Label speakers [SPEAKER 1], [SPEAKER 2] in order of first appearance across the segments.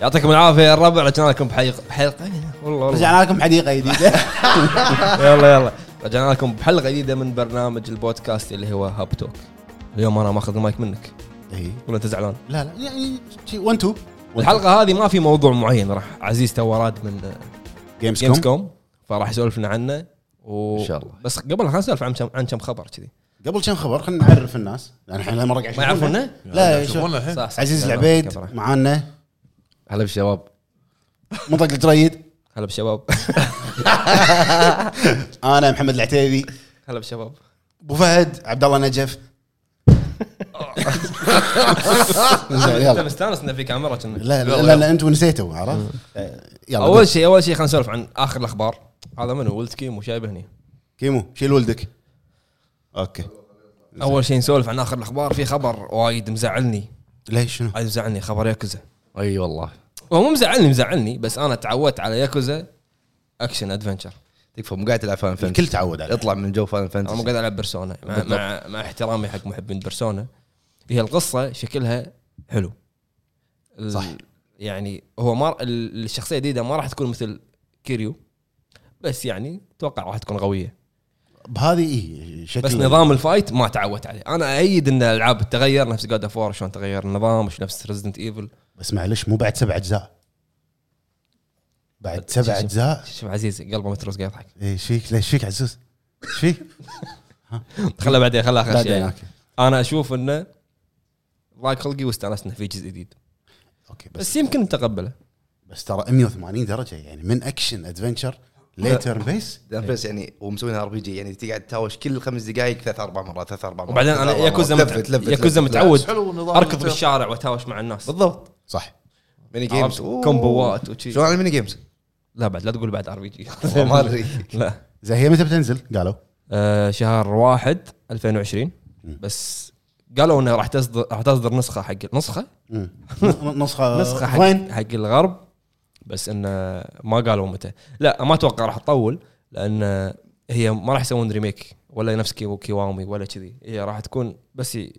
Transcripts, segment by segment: [SPEAKER 1] يعطيكم العافيه يا الربع رجعنا لكم بحلقه بحلقه والله والله
[SPEAKER 2] رجعنا لكم حديقه جديده
[SPEAKER 1] يلا يلا رجعنا لكم بحلقه جديده من برنامج البودكاست اللي هو هاب توك اليوم انا ماخذ المايك منك
[SPEAKER 2] إي.
[SPEAKER 1] ولا انت زعلان
[SPEAKER 2] إيه. لا لا يعني شي 1 2
[SPEAKER 1] والحلقه هذه ما في موضوع معين راح عزيز توراد من
[SPEAKER 2] جيمز
[SPEAKER 1] جيمز
[SPEAKER 2] كوم
[SPEAKER 1] كوم فراح يسولف لنا عنه و...
[SPEAKER 3] إن شاء الله.
[SPEAKER 1] بس قبل خلينا نسولف عن كم عن كم خبر كذي
[SPEAKER 2] قبل كم خبر خلينا نعرف الناس يعني لان احنا هالمره قاعد
[SPEAKER 1] ما يعرفونه؟
[SPEAKER 2] لا شوف.
[SPEAKER 4] شوفونا الحين
[SPEAKER 1] صح، صح.
[SPEAKER 2] عزيز
[SPEAKER 1] يلا،
[SPEAKER 2] العبيد
[SPEAKER 1] كبره.
[SPEAKER 2] معانا
[SPEAKER 3] هلا بالشباب
[SPEAKER 2] مطلق الجريد
[SPEAKER 1] هلا بالشباب
[SPEAKER 2] انا محمد العتيبي
[SPEAKER 1] هلا بالشباب
[SPEAKER 2] ابو فهد عبد الله نجف
[SPEAKER 1] انت
[SPEAKER 2] زين، يلا
[SPEAKER 1] مستانس انه في كاميرا كنا
[SPEAKER 2] لا لا, لا, لا انتم نسيتوا عرفت آه، يلا
[SPEAKER 1] اول شيء اول شيء خلينا نسولف عن اخر الاخبار هذا منو ولدكي مو شايبه هني
[SPEAKER 2] كيمو شيل ولدك اوكي
[SPEAKER 1] اول شيء نسولف عن اخر الاخبار في خبر وايد مزعلني
[SPEAKER 2] ليش شنو؟
[SPEAKER 1] وايد مزعلني خبر ياكوزا
[SPEAKER 3] اي والله
[SPEAKER 1] هو مو مزعلني مزعلني بس انا تعودت على ياكوزا اكشن ادفنشر
[SPEAKER 3] تكفى مو قاعد تلعب
[SPEAKER 1] إيه،
[SPEAKER 3] فان فانتسي
[SPEAKER 2] الكل تعود عليه
[SPEAKER 3] اطلع من جو فان
[SPEAKER 1] انا مو
[SPEAKER 3] فانتسي
[SPEAKER 1] قاعد العب بيرسونا مع, مع, مع احترامي حق محبين بيرسونا هي القصه شكلها حلو ال-
[SPEAKER 2] صح.
[SPEAKER 1] يعني هو ما ال- الشخصيه الجديده ما راح تكون مثل كيريو بس يعني اتوقع راح تكون قويه
[SPEAKER 2] بهذه اي شكل
[SPEAKER 1] بس نظام الفايت ما تعودت عليه انا ايد ان الالعاب تغير نفس جود اوف شلون تغير النظام مش نفس ريزدنت ايفل
[SPEAKER 2] بس معلش مو بعد سبع اجزاء بعد سبع إيه، اجزاء
[SPEAKER 1] شوف عزيز قلبه متروس قاعد يضحك
[SPEAKER 2] ايش فيك ليش فيك عزوز؟ ايش فيك؟
[SPEAKER 1] خله بعدين خله اخر
[SPEAKER 2] بعدين،
[SPEAKER 1] شيء
[SPEAKER 2] أوكي.
[SPEAKER 1] انا اشوف انه ضاق خلقي واستانسنا في جزء جديد
[SPEAKER 2] اوكي بس
[SPEAKER 1] بس يمكن نتقبله
[SPEAKER 2] بس ترى 180 درجه يعني من اكشن ادفنشر ليتر بيس
[SPEAKER 1] إيه.
[SPEAKER 3] بس يعني ومسوينها ار بي جي يعني تقعد تهاوش كل خمس دقائق ثلاث اربع مرات ثلاث اربع مرات
[SPEAKER 1] وبعدين
[SPEAKER 3] ثلاث
[SPEAKER 1] انا
[SPEAKER 3] أربع مرات.
[SPEAKER 1] ياكوزا
[SPEAKER 3] لفت- لفت-
[SPEAKER 1] مت- ياكوزا
[SPEAKER 3] لفت.
[SPEAKER 1] متعود
[SPEAKER 4] حلو نظام
[SPEAKER 1] اركض
[SPEAKER 4] الفيلم.
[SPEAKER 1] بالشارع واتهاوش مع الناس
[SPEAKER 3] بالضبط
[SPEAKER 2] صح
[SPEAKER 3] ميني
[SPEAKER 1] عرفت؟
[SPEAKER 3] جيمز أوه.
[SPEAKER 1] كومبوات وشي.
[SPEAKER 3] شلون على الميني جيمز؟
[SPEAKER 1] لا بعد لا تقول بعد ار بي جي
[SPEAKER 3] والله ما ادري
[SPEAKER 1] لا
[SPEAKER 2] زي هي متى بتنزل؟ قالوا
[SPEAKER 1] آه، شهر واحد 2020 بس قالوا انه راح تصدر راح تصدر نسخه حق نسخه
[SPEAKER 2] مم. ن- نسخه
[SPEAKER 1] نسخه
[SPEAKER 2] وين؟
[SPEAKER 1] حق حق الغرب بس انه ما قالوا متى لا ما اتوقع راح تطول لان هي ما راح يسوون ريميك ولا نفس كيو كيوامي ولا كذي هي راح تكون بس ي-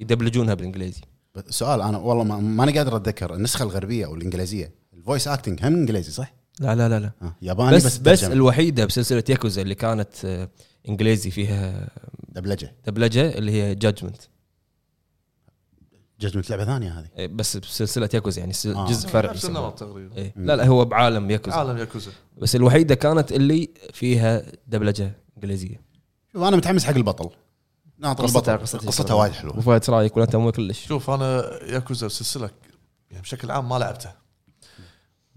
[SPEAKER 1] يدبلجونها بالانجليزي
[SPEAKER 2] بس سؤال انا والله ما- ماني قادر اتذكر النسخه الغربيه او الانجليزيه الفويس اكتنج هم انجليزي صح؟
[SPEAKER 1] لا لا لا لا
[SPEAKER 2] آه. ياباني
[SPEAKER 1] بس
[SPEAKER 2] بس
[SPEAKER 1] بس, بس
[SPEAKER 2] ترجمة.
[SPEAKER 1] الوحيده بسلسله ياكوزا اللي كانت آه، انجليزي فيها
[SPEAKER 2] دبلجه
[SPEAKER 1] دبلجه اللي هي جادجمنت
[SPEAKER 2] جزمة لعبه ثانيه هذه بس
[SPEAKER 1] إيه، بس بسلسله ياكوزا يعني سل-
[SPEAKER 2] آه.
[SPEAKER 1] جزء فرعي
[SPEAKER 4] نفس
[SPEAKER 1] يسمونه.
[SPEAKER 4] النمط تقريبا
[SPEAKER 1] إيه. لا لا هو بعالم ياكوزا
[SPEAKER 4] عالم ياكوزا
[SPEAKER 1] بس الوحيده كانت اللي فيها دبلجه انجليزيه
[SPEAKER 2] شوف انا متحمس حق البطل ناطر
[SPEAKER 1] قصتها-
[SPEAKER 2] البطل
[SPEAKER 1] قصتها-
[SPEAKER 2] قصتها وايد حلوه
[SPEAKER 1] وفايد ايش رايك ولا انت مو كلش؟
[SPEAKER 4] شوف انا ياكوزا السلسله يعني بشكل عام ما لعبتها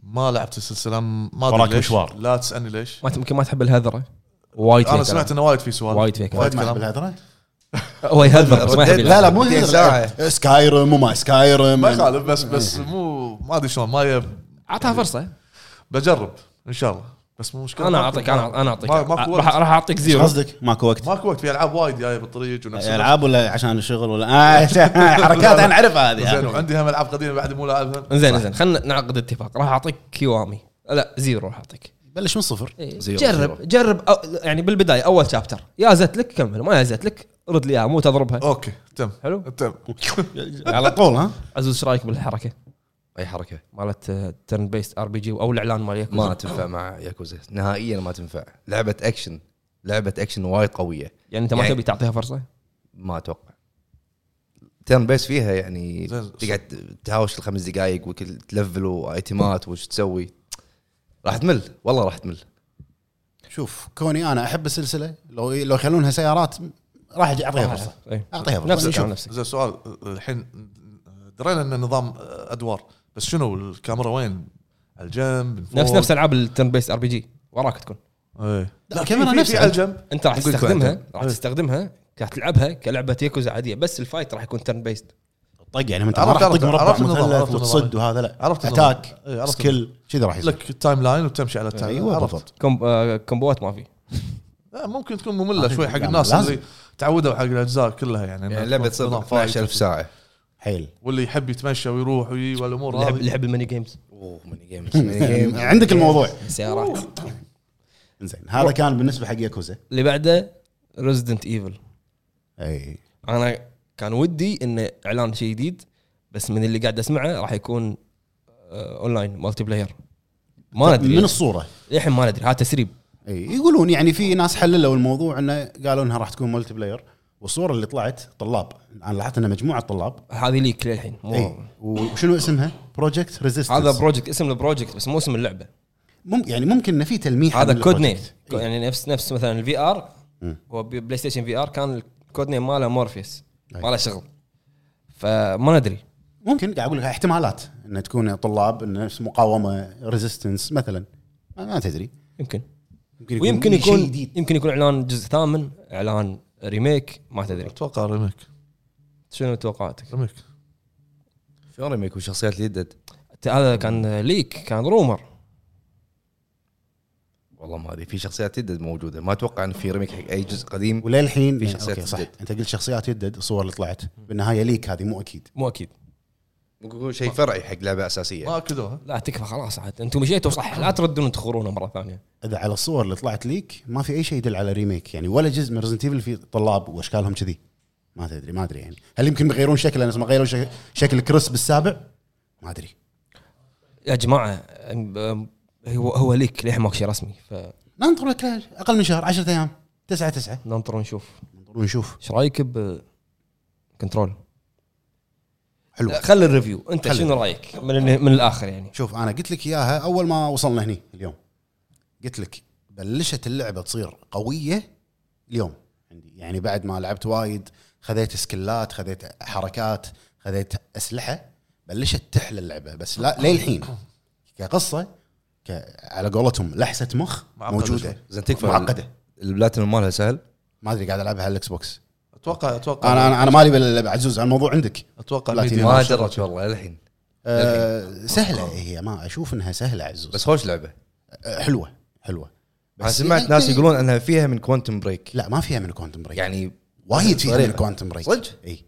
[SPEAKER 4] ما لعبت السلسله ما
[SPEAKER 2] وراك
[SPEAKER 4] ادري ليش
[SPEAKER 2] مشوار.
[SPEAKER 4] لا تسالني ليش
[SPEAKER 1] ما ت- يمكن ما تحب الهذره وايد فيها
[SPEAKER 4] انا سمعت
[SPEAKER 1] كلام.
[SPEAKER 4] انه وايد في سؤال
[SPEAKER 1] وايد فيها كلام.
[SPEAKER 2] وايد
[SPEAKER 4] وايد
[SPEAKER 2] ما
[SPEAKER 4] كلام
[SPEAKER 2] بالهدرة
[SPEAKER 1] هو يهذر بس ما يحب
[SPEAKER 2] إيه، لا
[SPEAKER 1] يلعب.
[SPEAKER 2] لا مو
[SPEAKER 3] 200
[SPEAKER 2] هي
[SPEAKER 3] ساعة.
[SPEAKER 2] سكايرم وما سكايرم
[SPEAKER 4] ما يخالف بس بس مو ما ادري شلون ما يب...
[SPEAKER 1] اعطها فرصه
[SPEAKER 4] بجرب ان شاء الله بس مو مشكله
[SPEAKER 1] انا
[SPEAKER 4] ماكو-
[SPEAKER 1] اعطيك انا انا اعطيك
[SPEAKER 4] ما- ماكو
[SPEAKER 1] راح
[SPEAKER 4] وقت
[SPEAKER 1] راح اعطيك
[SPEAKER 2] إيش
[SPEAKER 1] زيرو
[SPEAKER 2] قصدك ماكو وقت
[SPEAKER 4] ماكو وقت في العاب وايد جايه بالطريق ونفس الوقت.
[SPEAKER 2] العاب ولا عشان الشغل ولا آه حركات انا اعرفها هذه
[SPEAKER 4] زين
[SPEAKER 2] يعني.
[SPEAKER 4] وعندي هم العاب قديمه بعد مو لاعبها
[SPEAKER 1] زين زين خلينا نعقد اتفاق راح اعطيك كيوامي لا زيرو راح اعطيك
[SPEAKER 2] بلش من صفر
[SPEAKER 3] زيرو،
[SPEAKER 1] إيه. جرب
[SPEAKER 3] زيرو.
[SPEAKER 1] جرب أو يعني بالبدايه اول شابتر يا زت لك كمل ما يا زت لك رد لي اياها مو تضربها
[SPEAKER 4] اوكي تم
[SPEAKER 1] حلو.
[SPEAKER 4] تم
[SPEAKER 2] على طول ها
[SPEAKER 1] عزوز ايش رايك بالحركه
[SPEAKER 3] اي حركه
[SPEAKER 1] مالت آه، ترن بيست ار بي جي او الاعلان مال ياكوزا
[SPEAKER 3] ما تنفع مع ياكوزا نهائيا ما تنفع لعبه اكشن لعبه اكشن وايد قويه
[SPEAKER 1] يعني انت ما
[SPEAKER 3] يعني-
[SPEAKER 1] تبي تعطيها فرصه؟
[SPEAKER 3] ما اتوقع تيرن بيس فيها يعني
[SPEAKER 4] زين.
[SPEAKER 3] تقعد تهاوش الخمس دقائق وكل تلفل وايتمات وش تسوي راح تمل والله راح تمل
[SPEAKER 2] شوف كوني انا احب السلسله لو لو يخلونها سيارات راح أجي اعطيها فرصه
[SPEAKER 1] إيه.
[SPEAKER 2] آه، أعطيها فرصة.
[SPEAKER 1] نفس الكلام
[SPEAKER 2] نشوف.
[SPEAKER 1] نفسك
[SPEAKER 4] زين سؤال الحين درينا انه نظام ادوار بس شنو الكاميرا وين؟ على الجنب من فوق؟
[SPEAKER 1] نفس نفس العاب الترن بيست ار بي جي وراك تكون
[SPEAKER 4] إيه.
[SPEAKER 2] لا، الكاميرا
[SPEAKER 4] في- في-
[SPEAKER 2] نفسها.
[SPEAKER 4] في على الجنب
[SPEAKER 1] انت راح
[SPEAKER 3] نقول
[SPEAKER 1] تستخدمها
[SPEAKER 3] كويس.
[SPEAKER 1] راح تستخدمها كتلعبها كلعبه ياكوزا عاديه بس الفايت راح يكون ترن بيست
[SPEAKER 2] طق يعني ما انت
[SPEAKER 4] عرفت-
[SPEAKER 2] راح تطق
[SPEAKER 4] عرفت-
[SPEAKER 2] مربع
[SPEAKER 4] عرفت النظام، عرفت
[SPEAKER 2] مثلث
[SPEAKER 4] النظام.
[SPEAKER 2] وتصد وهذا لا
[SPEAKER 4] عرفت النظام.
[SPEAKER 2] اتاك
[SPEAKER 4] إيه، عرفت
[SPEAKER 2] سكيل كذا راح يصير
[SPEAKER 4] لك تايم لاين وتمشي على التايم
[SPEAKER 2] ايوه
[SPEAKER 4] عرفت.
[SPEAKER 2] بالضبط
[SPEAKER 1] كوم آه، كومبوات ما في
[SPEAKER 4] آه، ممكن تكون ممله شوي حق
[SPEAKER 2] أيوة، لا،
[SPEAKER 4] الناس
[SPEAKER 2] لازم.
[SPEAKER 4] اللي تعودوا حق الاجزاء كلها يعني إنها
[SPEAKER 3] يعني لعبه
[SPEAKER 4] تكون
[SPEAKER 3] تصير
[SPEAKER 4] نظام فايت
[SPEAKER 3] 12000 ساعه
[SPEAKER 2] حيل
[SPEAKER 4] واللي يحب يتمشى ويروح ويجي والامور
[SPEAKER 1] اللي يحب- اللي
[SPEAKER 4] هذه
[SPEAKER 1] يحب الميني جيمز
[SPEAKER 3] اوه ميني جيمز ميني
[SPEAKER 2] إيه،
[SPEAKER 3] جيمز
[SPEAKER 2] يعني عندك الموضوع
[SPEAKER 1] السيارات
[SPEAKER 2] زين هذا كان بالنسبه حق ياكوزا
[SPEAKER 1] اللي بعده ريزدنت ايفل
[SPEAKER 2] اي
[SPEAKER 1] انا كان ودي انه اعلان شيء جديد بس من اللي قاعد اسمعه راح يكون آه، اونلاين مالتي بلاير ما
[SPEAKER 2] طب
[SPEAKER 1] ندري
[SPEAKER 2] من الصوره
[SPEAKER 1] للحين ما ندري هذا تسريب
[SPEAKER 2] اي يقولون يعني في ناس حللوا الموضوع انه قالوا انها راح تكون ملتي بلاير والصوره اللي طلعت طلاب انا لاحظت انها مجموعه طلاب
[SPEAKER 1] هذه ليك للحين مو
[SPEAKER 2] اي وشنو اسمها؟ بروجكت ريزيستنس
[SPEAKER 1] هذا بروجكت اسم البروجكت بس مو اسم اللعبه
[SPEAKER 2] مم يعني ممكن انه في تلميح
[SPEAKER 1] هذا
[SPEAKER 2] من
[SPEAKER 1] كود نيم
[SPEAKER 2] البروجكت. إي.
[SPEAKER 1] يعني نفس نفس مثلا الفي ار
[SPEAKER 2] مم.
[SPEAKER 1] هو بي- بلاي ستيشن في ار كان الكود نيم ماله مورفيس
[SPEAKER 2] أي.
[SPEAKER 1] ما له شغل فما ندري
[SPEAKER 2] ممكن قاعد اقول لك احتمالات انها تكون طلاب إن نفس مقاومه ريزيستنس مثلا ما- ما تدري
[SPEAKER 1] يمكن
[SPEAKER 2] يمكن
[SPEAKER 1] ويمكن
[SPEAKER 2] في
[SPEAKER 1] يكون
[SPEAKER 2] شيء جديد
[SPEAKER 1] يمكن يكون اعلان جزء ثامن اعلان ريميك ما تدري
[SPEAKER 4] اتوقع ريميك
[SPEAKER 1] شنو توقعاتك؟
[SPEAKER 4] ريميك
[SPEAKER 3] شلون ريميك وشخصيات جدد
[SPEAKER 1] ت- هذا كان ليك كان رومر
[SPEAKER 3] والله ما ادري في شخصيات جدد موجوده ما اتوقع ان في ريميك حق اي جزء قديم
[SPEAKER 2] وللحين
[SPEAKER 3] في
[SPEAKER 2] يعني
[SPEAKER 3] شخصيات
[SPEAKER 2] أوكي، صح
[SPEAKER 3] جدد.
[SPEAKER 2] انت قلت شخصيات يدد الصور اللي طلعت بالنهايه ليك هذه مو اكيد
[SPEAKER 1] مو اكيد
[SPEAKER 3] ممكن يكون شيء فرعي حق لعبه اساسيه
[SPEAKER 4] ما اكدوها
[SPEAKER 1] لا تكفى خلاص عاد انتم مشيتوا صح لا تردون تخورونا مره ثانيه
[SPEAKER 2] اذا على الصور اللي طلعت ليك ما في اي شيء يدل على ريميك يعني ولا جزء من ريزنت ايفل في طلاب واشكالهم كذي ما تدري ما ادري يعني هل يمكن بيغيرون شكله نفس ما غيروا شك- شكل كريس بالسابع ما ادري
[SPEAKER 1] يا جماعه أم- أم- هو هو ليك للحين ماكو شيء رسمي
[SPEAKER 2] ننطر لك اقل من شهر 10 ايام 9 9
[SPEAKER 1] فننطر ونشوف
[SPEAKER 2] ننطر ونشوف
[SPEAKER 1] ايش رايك بكنترول؟
[SPEAKER 2] حلو
[SPEAKER 1] خلي الريفيو انت
[SPEAKER 2] خلي.
[SPEAKER 1] شنو رايك من من الاخر يعني
[SPEAKER 2] شوف انا قلت لك اياها اول ما وصلنا هني اليوم قلت لك بلشت اللعبه تصير قويه اليوم عندي يعني بعد ما لعبت وايد خذيت سكلات خذيت حركات خذيت اسلحه بلشت تحلى اللعبه بس لا للحين كقصه ك... على قولتهم لحسه مخ
[SPEAKER 4] معقدة
[SPEAKER 2] موجوده
[SPEAKER 4] شوي.
[SPEAKER 3] زين تكفى
[SPEAKER 2] معقده
[SPEAKER 3] البلاتينوم مالها سهل
[SPEAKER 2] ما ادري قاعد العبها على الاكس بوكس
[SPEAKER 4] اتوقع اتوقع
[SPEAKER 2] انا انا انا مالي بال- عزوز على الموضوع عندك
[SPEAKER 4] اتوقع
[SPEAKER 2] لا
[SPEAKER 4] ميديا.
[SPEAKER 3] ما جربت والله الحين
[SPEAKER 2] أه سهله هي ما اشوف انها سهله عزوز بس
[SPEAKER 3] بس خوش لعبه
[SPEAKER 2] أه حلوه حلوه
[SPEAKER 3] انا
[SPEAKER 2] يعني
[SPEAKER 3] سمعت ناس يقولون انها فيها من كوانتم بريك
[SPEAKER 2] لا ما فيها من كوانتم بريك
[SPEAKER 3] يعني
[SPEAKER 2] وايد فيها من
[SPEAKER 3] غريبة.
[SPEAKER 2] كوانتم بريك
[SPEAKER 3] صدق؟
[SPEAKER 2] اي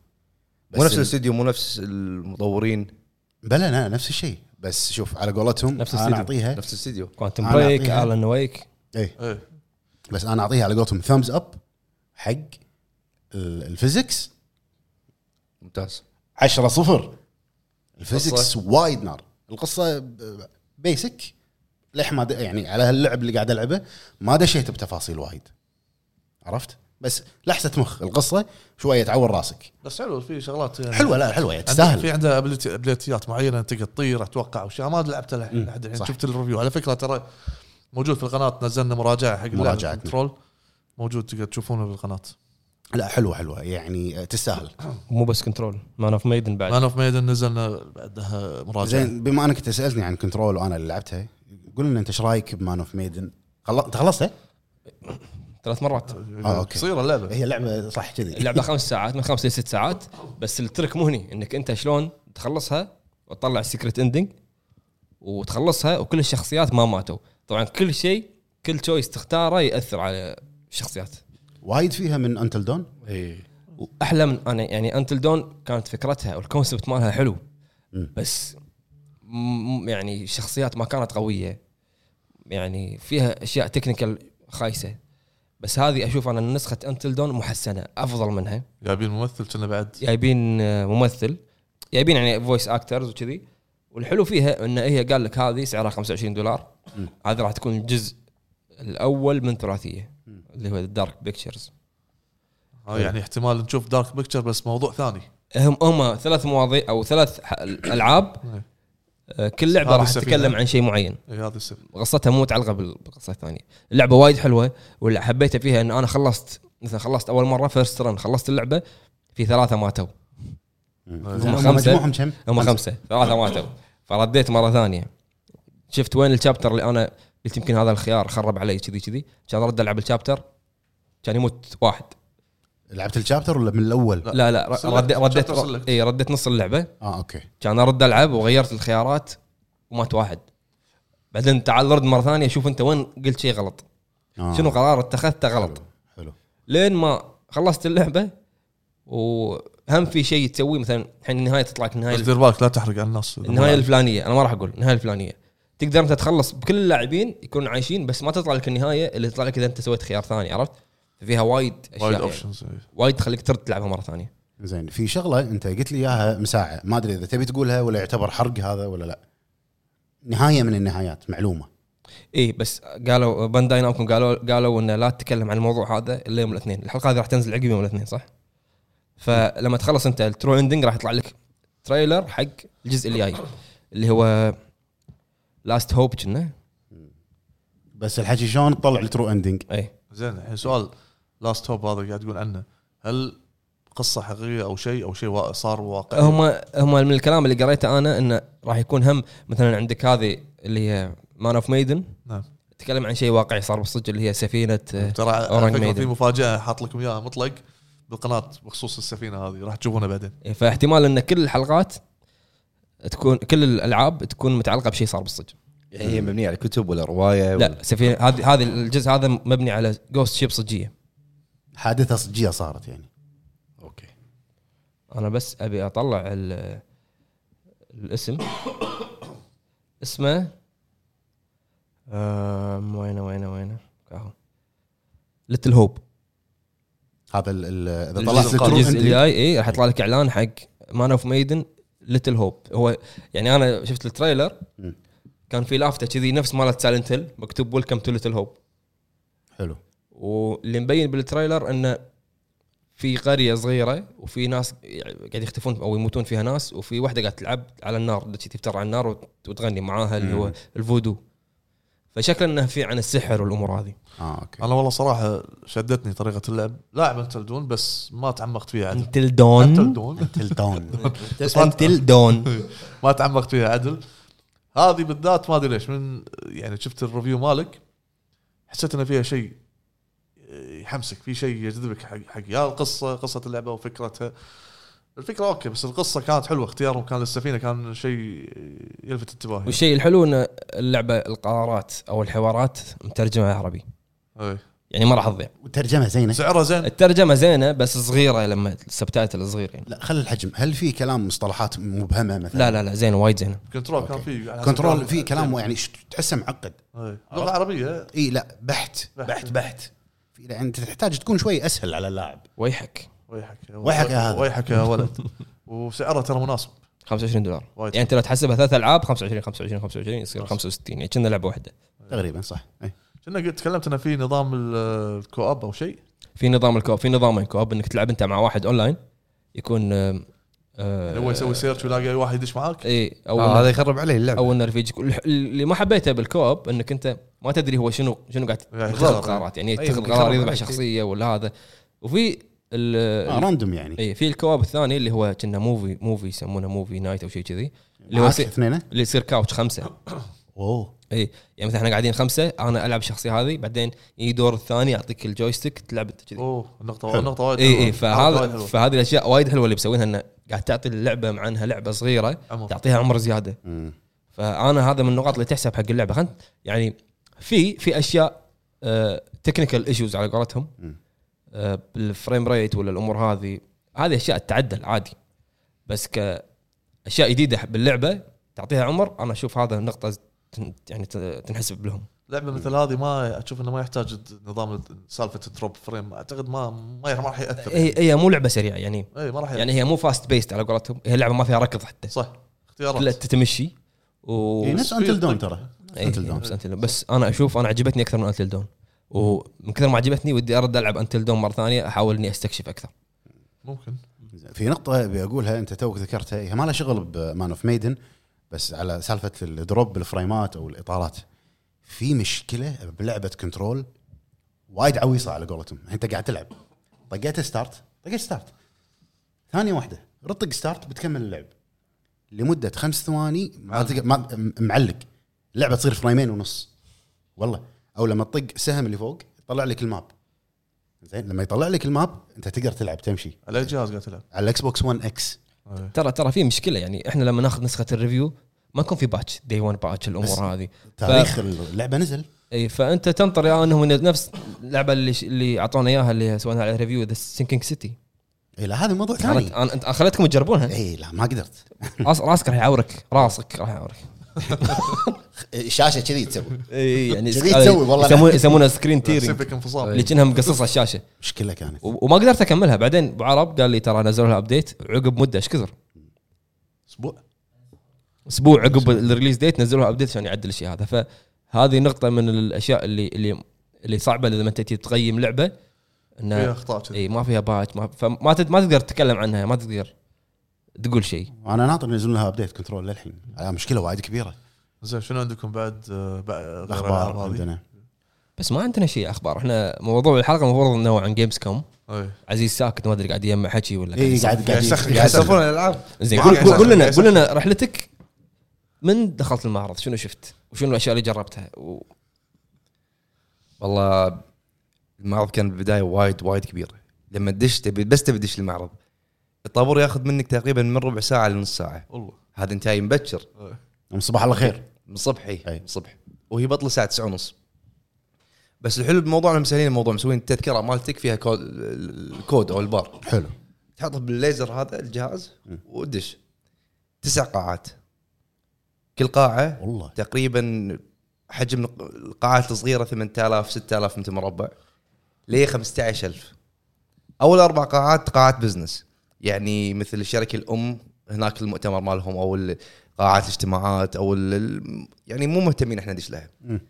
[SPEAKER 3] مو نفس
[SPEAKER 2] ال-
[SPEAKER 3] الاستوديو مو نفس المطورين
[SPEAKER 2] بلا لا نفس الشيء بس شوف على قولتهم
[SPEAKER 1] نفس
[SPEAKER 2] انا
[SPEAKER 1] الاستديو.
[SPEAKER 2] اعطيها
[SPEAKER 3] نفس الاستوديو
[SPEAKER 1] كوانتم
[SPEAKER 2] أنا
[SPEAKER 1] بريك
[SPEAKER 2] أعطيها.
[SPEAKER 1] الن ويك
[SPEAKER 2] اي
[SPEAKER 4] إيه.
[SPEAKER 2] بس انا اعطيها على قولتهم ثامز اب حق ال- الفيزكس
[SPEAKER 3] ممتاز
[SPEAKER 2] 10 صفر الفيزكس
[SPEAKER 3] قصة.
[SPEAKER 2] وايد نار القصه ب- بيسك لح ما د- يعني على هاللعب اللي قاعد العبه ما دشيت بتفاصيل وايد عرفت بس لحسه مخ القصه شويه تعور راسك
[SPEAKER 4] بس حلو في شغلات يعني
[SPEAKER 2] حلوه لا حلوه يعني
[SPEAKER 4] عندك- في
[SPEAKER 2] تستاهل
[SPEAKER 4] عنده ابيلتي ابيلتيات معينه تقدر تطير اتوقع وشيء ما لعبته
[SPEAKER 2] مم،
[SPEAKER 4] لح- لحد الحين
[SPEAKER 2] صح.
[SPEAKER 4] شفت الريفيو على فكره ترى موجود في القناه نزلنا مراجعه حق اللعبة،
[SPEAKER 2] مراجعتنا.
[SPEAKER 4] كنترول موجود تقدر تشوفونه بالقناه
[SPEAKER 2] لا حلوه حلوه يعني آه، تستاهل
[SPEAKER 1] مو بس كنترول مان اوف ميدن بعد
[SPEAKER 4] مان اوف ميدن نزلنا بعدها مراجعه
[SPEAKER 2] زين بما انك تسالني عن كنترول وانا اللي لعبتها قول لنا انت ايش رايك بمان اوف ميدن خلص انت خلصتها؟
[SPEAKER 1] ثلاث مرات
[SPEAKER 2] آه، أوكي.
[SPEAKER 4] قصيره اللعبه
[SPEAKER 2] هي لعبه صح كذي
[SPEAKER 1] اللعبه خمس ساعات من خمس لست ساعات بس الترك مو هني انك انت شلون تخلصها وتطلع السكرت اندنج وتخلصها وكل الشخصيات ما ماتوا طبعا كل شيء كل تشويس تختاره ياثر على الشخصيات
[SPEAKER 2] وايد فيها من انتل دون
[SPEAKER 1] إيه.
[SPEAKER 3] اي
[SPEAKER 1] واحلى من انا يعني انتل دون كانت فكرتها والكونسبت مالها حلو
[SPEAKER 2] مم.
[SPEAKER 1] بس م- يعني الشخصيات ما كانت قويه يعني فيها اشياء تكنيكال خايسه بس هذه اشوف انا نسخه انتل دون محسنه افضل منها
[SPEAKER 4] جايبين ممثل كنا بعد
[SPEAKER 2] إيه.
[SPEAKER 1] جايبين آه، ممثل جايبين يعني فويس اكترز وكذي والحلو فيها ان هي قال لك هذه سعرها 25 دولار
[SPEAKER 2] مم.
[SPEAKER 1] هذه راح تكون الجزء الاول من ثلاثيه
[SPEAKER 2] مم.
[SPEAKER 1] اللي هو دارك بيكتشرز
[SPEAKER 4] آه يعني احتمال نشوف دارك بيكتشر بس موضوع ثاني
[SPEAKER 1] هم هم ثلاث مواضيع او ثلاث ح- العاب
[SPEAKER 4] إيه.
[SPEAKER 1] آه، كل لعبه
[SPEAKER 4] هذه
[SPEAKER 1] راح
[SPEAKER 4] السفينة.
[SPEAKER 1] تتكلم عن شيء معين
[SPEAKER 4] اي هذا السبب
[SPEAKER 1] قصتها مو متعلقه بال- بالقصه الثانيه اللعبه وايد حلوه واللي حبيتها فيها ان انا خلصت مثلا خلصت اول مره فيرست رن خلصت اللعبه في ثلاثه ماتوا هم
[SPEAKER 2] هم
[SPEAKER 1] خمسة.
[SPEAKER 2] مجموعهم كم؟
[SPEAKER 1] هم خمسه ثلاثه ماتوا فرديت مره ثانيه شفت وين الشابتر اللي انا قلت يمكن هذا الخيار خرب علي كذي كذي كان ارد العب الشابتر كان يموت واحد
[SPEAKER 2] لعبت الشابتر ولا من الاول؟
[SPEAKER 4] لا.
[SPEAKER 1] لا لا
[SPEAKER 4] select.
[SPEAKER 1] رديت رديت
[SPEAKER 4] Chapter select.
[SPEAKER 1] اي رديت نص اللعبه
[SPEAKER 2] اه اوكي
[SPEAKER 1] كان ارد العب وغيرت الخيارات ومات واحد بعدين تعال رد مره ثانيه شوف انت وين قلت شيء غلط
[SPEAKER 2] آه.
[SPEAKER 1] شنو قرار اتخذته غلط
[SPEAKER 2] حلو. حلو
[SPEAKER 1] لين ما خلصت اللعبه وهم في شيء تسويه مثلا الحين النهايه تطلع لك النهايه
[SPEAKER 4] بس دير بالك لا تحرق على الناس
[SPEAKER 1] النهايه الفلانيه انا ما راح اقول النهايه الفلانيه تقدر انت تخلص بكل اللاعبين يكونوا عايشين بس ما تطلع لك النهايه اللي تطلع لك اذا انت سويت خيار ثاني عرفت؟ فيها وايد اشياء
[SPEAKER 4] وايد إيه.
[SPEAKER 1] وايد, يعني.
[SPEAKER 4] اوبشنز
[SPEAKER 1] وايد تخليك ترد تلعبها مره ثانيه
[SPEAKER 2] زين في شغله انت قلت لي اياها مساعه ما ادري اذا تبي تقولها ولا يعتبر حرق هذا ولا لا نهايه من النهايات معلومه
[SPEAKER 1] اي إيه، بس قالوا بانداي نامكو قالوا قالوا انه لا تتكلم عن الموضوع هذا الا يوم الاثنين، الحلقه هذه راح تنزل عقب يوم الاثنين صح؟ فلما تخلص انت الترو اندنج راح يطلع لك تريلر حق الجزء اللي جاي اللي هو لاست هوب كنا
[SPEAKER 2] بس الحكي شلون تطلع الترو اندنج
[SPEAKER 1] اي
[SPEAKER 4] زين الحين سؤال لاست هوب هذا قاعد تقول عنه هل قصه حقيقيه او شيء او شيء وا- صار واقعي
[SPEAKER 1] هم هم من الكلام اللي قريته انا انه راح يكون هم مثلا عندك هذه اللي هي مان اوف ميدن
[SPEAKER 4] نعم
[SPEAKER 1] تتكلم عن شيء واقعي صار بالصدق اللي هي سفينه آه،
[SPEAKER 4] ترى على
[SPEAKER 1] أورانج
[SPEAKER 4] فكره
[SPEAKER 1] ميدن.
[SPEAKER 4] في مفاجاه حاط لكم اياها مطلق بالقناه بخصوص السفينه هذه راح تشوفونها بعدين
[SPEAKER 1] إيه، فاحتمال ان كل الحلقات تكون كل الالعاب تكون متعلقه بشيء صار بالصدق
[SPEAKER 3] يعني هي مبنيه على كتب ولا روايه ولا-
[SPEAKER 1] لا سفينه هذه هذه الجزء هذا مبني على جوست شيب صجيه
[SPEAKER 2] حادثه صجيه صارت يعني
[SPEAKER 3] اوكي
[SPEAKER 1] انا بس ابي اطلع ال- الاسم اسمه آم، وينه وينه وينه اهو ليتل هوب
[SPEAKER 2] هذا ال- ال- اذا
[SPEAKER 4] الجزء
[SPEAKER 2] طلعت الترو
[SPEAKER 1] الجزء اللي
[SPEAKER 2] اندنج
[SPEAKER 1] جاي اي راح يطلع لك اعلان حق مان اوف ميدن ليتل هوب هو يعني انا شفت التريلر
[SPEAKER 2] مم.
[SPEAKER 1] كان في لافته كذي نفس مالت سايلنت هيل مكتوب ويلكم تو ليتل هوب
[SPEAKER 2] حلو
[SPEAKER 1] واللي مبين بالتريلر انه في قريه صغيره وفي ناس قاعد يختفون او يموتون فيها ناس وفي واحده قاعد تلعب على النار دتشي تفتر على النار وت- وتغني معاها اللي هو الفودو فشكله انه في عن السحر والامور هذه
[SPEAKER 2] اه اوكي
[SPEAKER 4] انا والله صراحه شدتني طريقه اللعب لاعب انتل دون بس ما تعمقت فيها عدل
[SPEAKER 1] انتل
[SPEAKER 4] انتل
[SPEAKER 1] دون
[SPEAKER 4] دون
[SPEAKER 2] تلتون
[SPEAKER 1] انتل دون
[SPEAKER 4] ما تعمقت فيها عدل هذه بالذات ما ادري ليش من يعني شفت الريفيو مالك حسيت ان فيها شيء إيه، يحمسك في شيء يجذبك حق حق يا القصه قصه اللعبه وفكرتها الفكره اوكي بس القصه كانت حلوه اختيارهم كان للسفينه كان شيء يلفت انتباهي
[SPEAKER 1] والشيء الحلو ان اللعبه القرارات او الحوارات مترجمه عربي
[SPEAKER 4] إيه.
[SPEAKER 1] يعني ما راح تضيع
[SPEAKER 2] وترجمه زينه
[SPEAKER 4] سعرها زين
[SPEAKER 1] الترجمه زينه بس صغيره لما السبتايتل صغير يعني
[SPEAKER 2] لا خل الحجم هل في كلام مصطلحات مبهمه مثلا
[SPEAKER 1] لا لا لا زينه وايد زينه
[SPEAKER 4] كنترول كان
[SPEAKER 2] أوكي.
[SPEAKER 4] فيه على حسب
[SPEAKER 2] كنترول في كلام يعني ش- تحسه معقد
[SPEAKER 4] إيه. لغه عربيه
[SPEAKER 2] اي لا بحت بحت بحت في- لا، انت تحتاج تكون شوي اسهل على اللاعب
[SPEAKER 1] ويحك
[SPEAKER 4] ويحك
[SPEAKER 2] ويحك يا هذا.
[SPEAKER 4] ويحك يا ولد وسعرها ترى مناسب
[SPEAKER 1] 25 دولار
[SPEAKER 4] وايد.
[SPEAKER 1] يعني انت لو تحسبها ثلاث العاب 25 25 25 يصير 65 يعني كنا لعبه واحده
[SPEAKER 2] تقريبا صح إي.
[SPEAKER 4] كنا قلت- تكلمت انه في نظام ال- الكواب او شيء
[SPEAKER 1] في نظام الكوب في نظامين كوب انك تلعب انت مع واحد اونلاين يكون آم، آه،
[SPEAKER 4] اللي هو يسوي سيرش ويلاقي واحد يدش معاك
[SPEAKER 1] اي او
[SPEAKER 3] آه
[SPEAKER 1] إنه-
[SPEAKER 3] هذا يخرب عليه اللعبه
[SPEAKER 1] او انه رفيجك اللي ما حبيته بالكوب انك انت ما تدري هو شنو شنو قاعد
[SPEAKER 4] يعني
[SPEAKER 1] تخلق
[SPEAKER 4] غلط.
[SPEAKER 1] قرارات يعني
[SPEAKER 3] أي،
[SPEAKER 1] تاخذ
[SPEAKER 3] يخرب
[SPEAKER 1] قرار يذبح
[SPEAKER 3] عليك.
[SPEAKER 1] شخصيه ولا هذا وفي
[SPEAKER 2] آه
[SPEAKER 1] ال
[SPEAKER 2] راندوم يعني
[SPEAKER 1] اي في الكواب الثاني اللي هو كنا موفي موفي يسمونه موفي نايت او شيء كذي اللي هو
[SPEAKER 2] معاك
[SPEAKER 1] يصير-
[SPEAKER 2] اثنين
[SPEAKER 1] اللي يصير كاوتش خمسه
[SPEAKER 2] اوه
[SPEAKER 1] اي يعني مثلا احنا قاعدين خمسه انا العب الشخصيه هذه بعدين يجي دور الثاني يعطيك الجويستيك تلعب انت كذي
[SPEAKER 4] اوه النقطه
[SPEAKER 2] حلو.
[SPEAKER 4] النقطه وايد
[SPEAKER 1] اي
[SPEAKER 4] حلوة.
[SPEAKER 1] اي
[SPEAKER 4] حركة وايد
[SPEAKER 1] فهذا
[SPEAKER 4] حلوة.
[SPEAKER 1] فهذه الاشياء وايد حلوه اللي مسوينها انه قاعد تعطي اللعبه مع انها لعبه صغيره
[SPEAKER 4] عمر.
[SPEAKER 1] تعطيها عمر زياده
[SPEAKER 2] مم.
[SPEAKER 1] فانا هذا من النقاط اللي تحسب حق اللعبه خنت يعني في في اشياء تكنيكال ايشوز على قولتهم
[SPEAKER 2] مم.
[SPEAKER 1] آه، بالفريم ريت ولا الامور هذه هذه اشياء تعدل عادي بس كاشياء جديده باللعبه تعطيها عمر انا اشوف هذا النقطه تن- يعني ت- تنحسب لهم
[SPEAKER 4] لعبه مثل هذه ما اشوف انه ما يحتاج نظام سالفه الدروب فريم اعتقد ما ما ير- ما راح ياثر
[SPEAKER 1] هي هي مو لعبه سريعه يعني
[SPEAKER 4] اي ما راح يأثر.
[SPEAKER 1] يعني هي مو فاست بيست على قولتهم هي لعبه ما فيها ركض حتى
[SPEAKER 4] صح
[SPEAKER 1] كلها
[SPEAKER 4] اختيارات
[SPEAKER 1] تتمشي و
[SPEAKER 2] إي، نفس
[SPEAKER 4] في-
[SPEAKER 2] انتل دون ترى
[SPEAKER 1] إيه،
[SPEAKER 2] انتل دون
[SPEAKER 1] نفس Until Dawn. بس انا اشوف انا عجبتني اكثر من انتل دون ومن كثر ما عجبتني ودي ارد العب انتل دون مره ثانيه احاول اني استكشف اكثر
[SPEAKER 4] ممكن
[SPEAKER 2] في نقطة بقولها أنت توك ذكرتها هي ما لها شغل بمان اوف ميدن بس على سالفة الدروب بالفريمات أو الإطارات في مشكلة بلعبة كنترول وايد عويصة على قولتهم أنت قاعد تلعب طقيت ستارت طقيت ستارت ثانية واحدة رطق ستارت بتكمل اللعب لمدة خمس ثواني ما تق- ما م- معلق اللعبة تصير فريمين ونص والله أو لما تطق سهم اللي فوق يطلع لك الماب زين لما يطلع لك الماب انت تقدر تلعب تمشي
[SPEAKER 4] على اي جهاز قاعد تلعب؟
[SPEAKER 2] على الاكس بوكس 1 اكس
[SPEAKER 4] إيه.
[SPEAKER 1] ترى ترى في مشكله يعني احنا لما ناخذ نسخه الريفيو ما يكون في باتش دي 1 باتش
[SPEAKER 2] بس-
[SPEAKER 1] الامور هذه
[SPEAKER 2] تاريخ اللعبه نزل
[SPEAKER 1] اي فانت تنطر يا انهم نفس اللعبه اللي اللي اعطونا اياها اللي سويناها على الريفيو ذا سينكينج سيتي
[SPEAKER 2] اي إيه، لا هذا موضوع ثاني
[SPEAKER 1] كانت انا أنت- خليتكم تجربونها
[SPEAKER 2] اي لا ما قدرت
[SPEAKER 1] راس- راسك راح يعورك راسك راح يعورك
[SPEAKER 2] شاشه كذي تسوي
[SPEAKER 3] إيه،
[SPEAKER 1] اي يعني
[SPEAKER 2] جديد تسوي والله. طيب.
[SPEAKER 1] يسمون- يسمونها سكرين تيرنج
[SPEAKER 4] سيفك انفصال
[SPEAKER 1] اللي كانها مقصصه الشاشه
[SPEAKER 2] مشكله كانت
[SPEAKER 1] و- وما قدرت اكملها بعدين ابو عرب قال لي ترى نزلوا لها ابديت عقب مده ايش كثر
[SPEAKER 4] اسبوع
[SPEAKER 1] اسبوع عقب الريليز ديت نزلوا ابديت عشان يعدل الشيء هذا فهذه نقطه من الاشياء اللي اللي اللي صعبه لما انت تجي تقيم لعبه
[SPEAKER 4] فيها
[SPEAKER 1] انه
[SPEAKER 4] اخطاء كذي
[SPEAKER 1] اي ما فيها باتش ما فما تد- ما تقدر تتكلم عنها ما تقدر تقول شيء
[SPEAKER 2] انا ناطر ينزلون لها ابديت كنترول للحين على مشكله وايد كبيره
[SPEAKER 4] زين شنو عندكم بعد آه، بع- غير
[SPEAKER 2] الاخبار
[SPEAKER 4] الألعاب هذه؟
[SPEAKER 2] عندنا
[SPEAKER 1] بس ما عندنا شيء اخبار احنا موضوع الحلقه المفروض انه هو عن جيمز كوم
[SPEAKER 4] إي.
[SPEAKER 1] عزيز ساكت ما ادري قاعد يجمع حكي ولا
[SPEAKER 2] اي
[SPEAKER 1] قاعد-
[SPEAKER 2] إيه، قاعد قاعد
[SPEAKER 4] يسخ-
[SPEAKER 2] قاعد
[SPEAKER 3] يحسفون الالعاب
[SPEAKER 1] زين
[SPEAKER 4] ما
[SPEAKER 1] قول,
[SPEAKER 4] عندي
[SPEAKER 1] قول, قول لنا
[SPEAKER 4] أسئلة.
[SPEAKER 1] قول لنا رحلتك من دخلت المعرض شنو شفت وشنو الاشياء اللي جربتها و...
[SPEAKER 3] والله المعرض كان بالبدايه وايد وايد كبير لما تدش تبي بس تبي تدش المعرض الطابور ياخذ منك تقريبا من ربع ساعه لنص ساعه
[SPEAKER 4] والله
[SPEAKER 3] هذا انت جاي مبكر
[SPEAKER 4] إي.
[SPEAKER 2] يسخ. صباح الله خير
[SPEAKER 3] من صبحي
[SPEAKER 2] أي.
[SPEAKER 3] من صبح وهي بطله الساعه 9 ونص بس الحلو بالموضوع انهم مسهلين الموضوع مسوين التذكره مالتك فيها كود الكود او البار
[SPEAKER 2] حلو
[SPEAKER 3] تحطه بالليزر هذا الجهاز
[SPEAKER 2] م.
[SPEAKER 3] ودش تسع قاعات كل قاعه
[SPEAKER 2] والله
[SPEAKER 3] تقريبا حجم القاعات الصغيره 8000 6000 متر مربع ل 15000 اول اربع قاعات قاعات بزنس يعني مثل الشركه الام هناك المؤتمر مالهم او ال- قاعات الاجتماعات او ال- ال- يعني مو مهتمين احنا ندش لها
[SPEAKER 2] مم.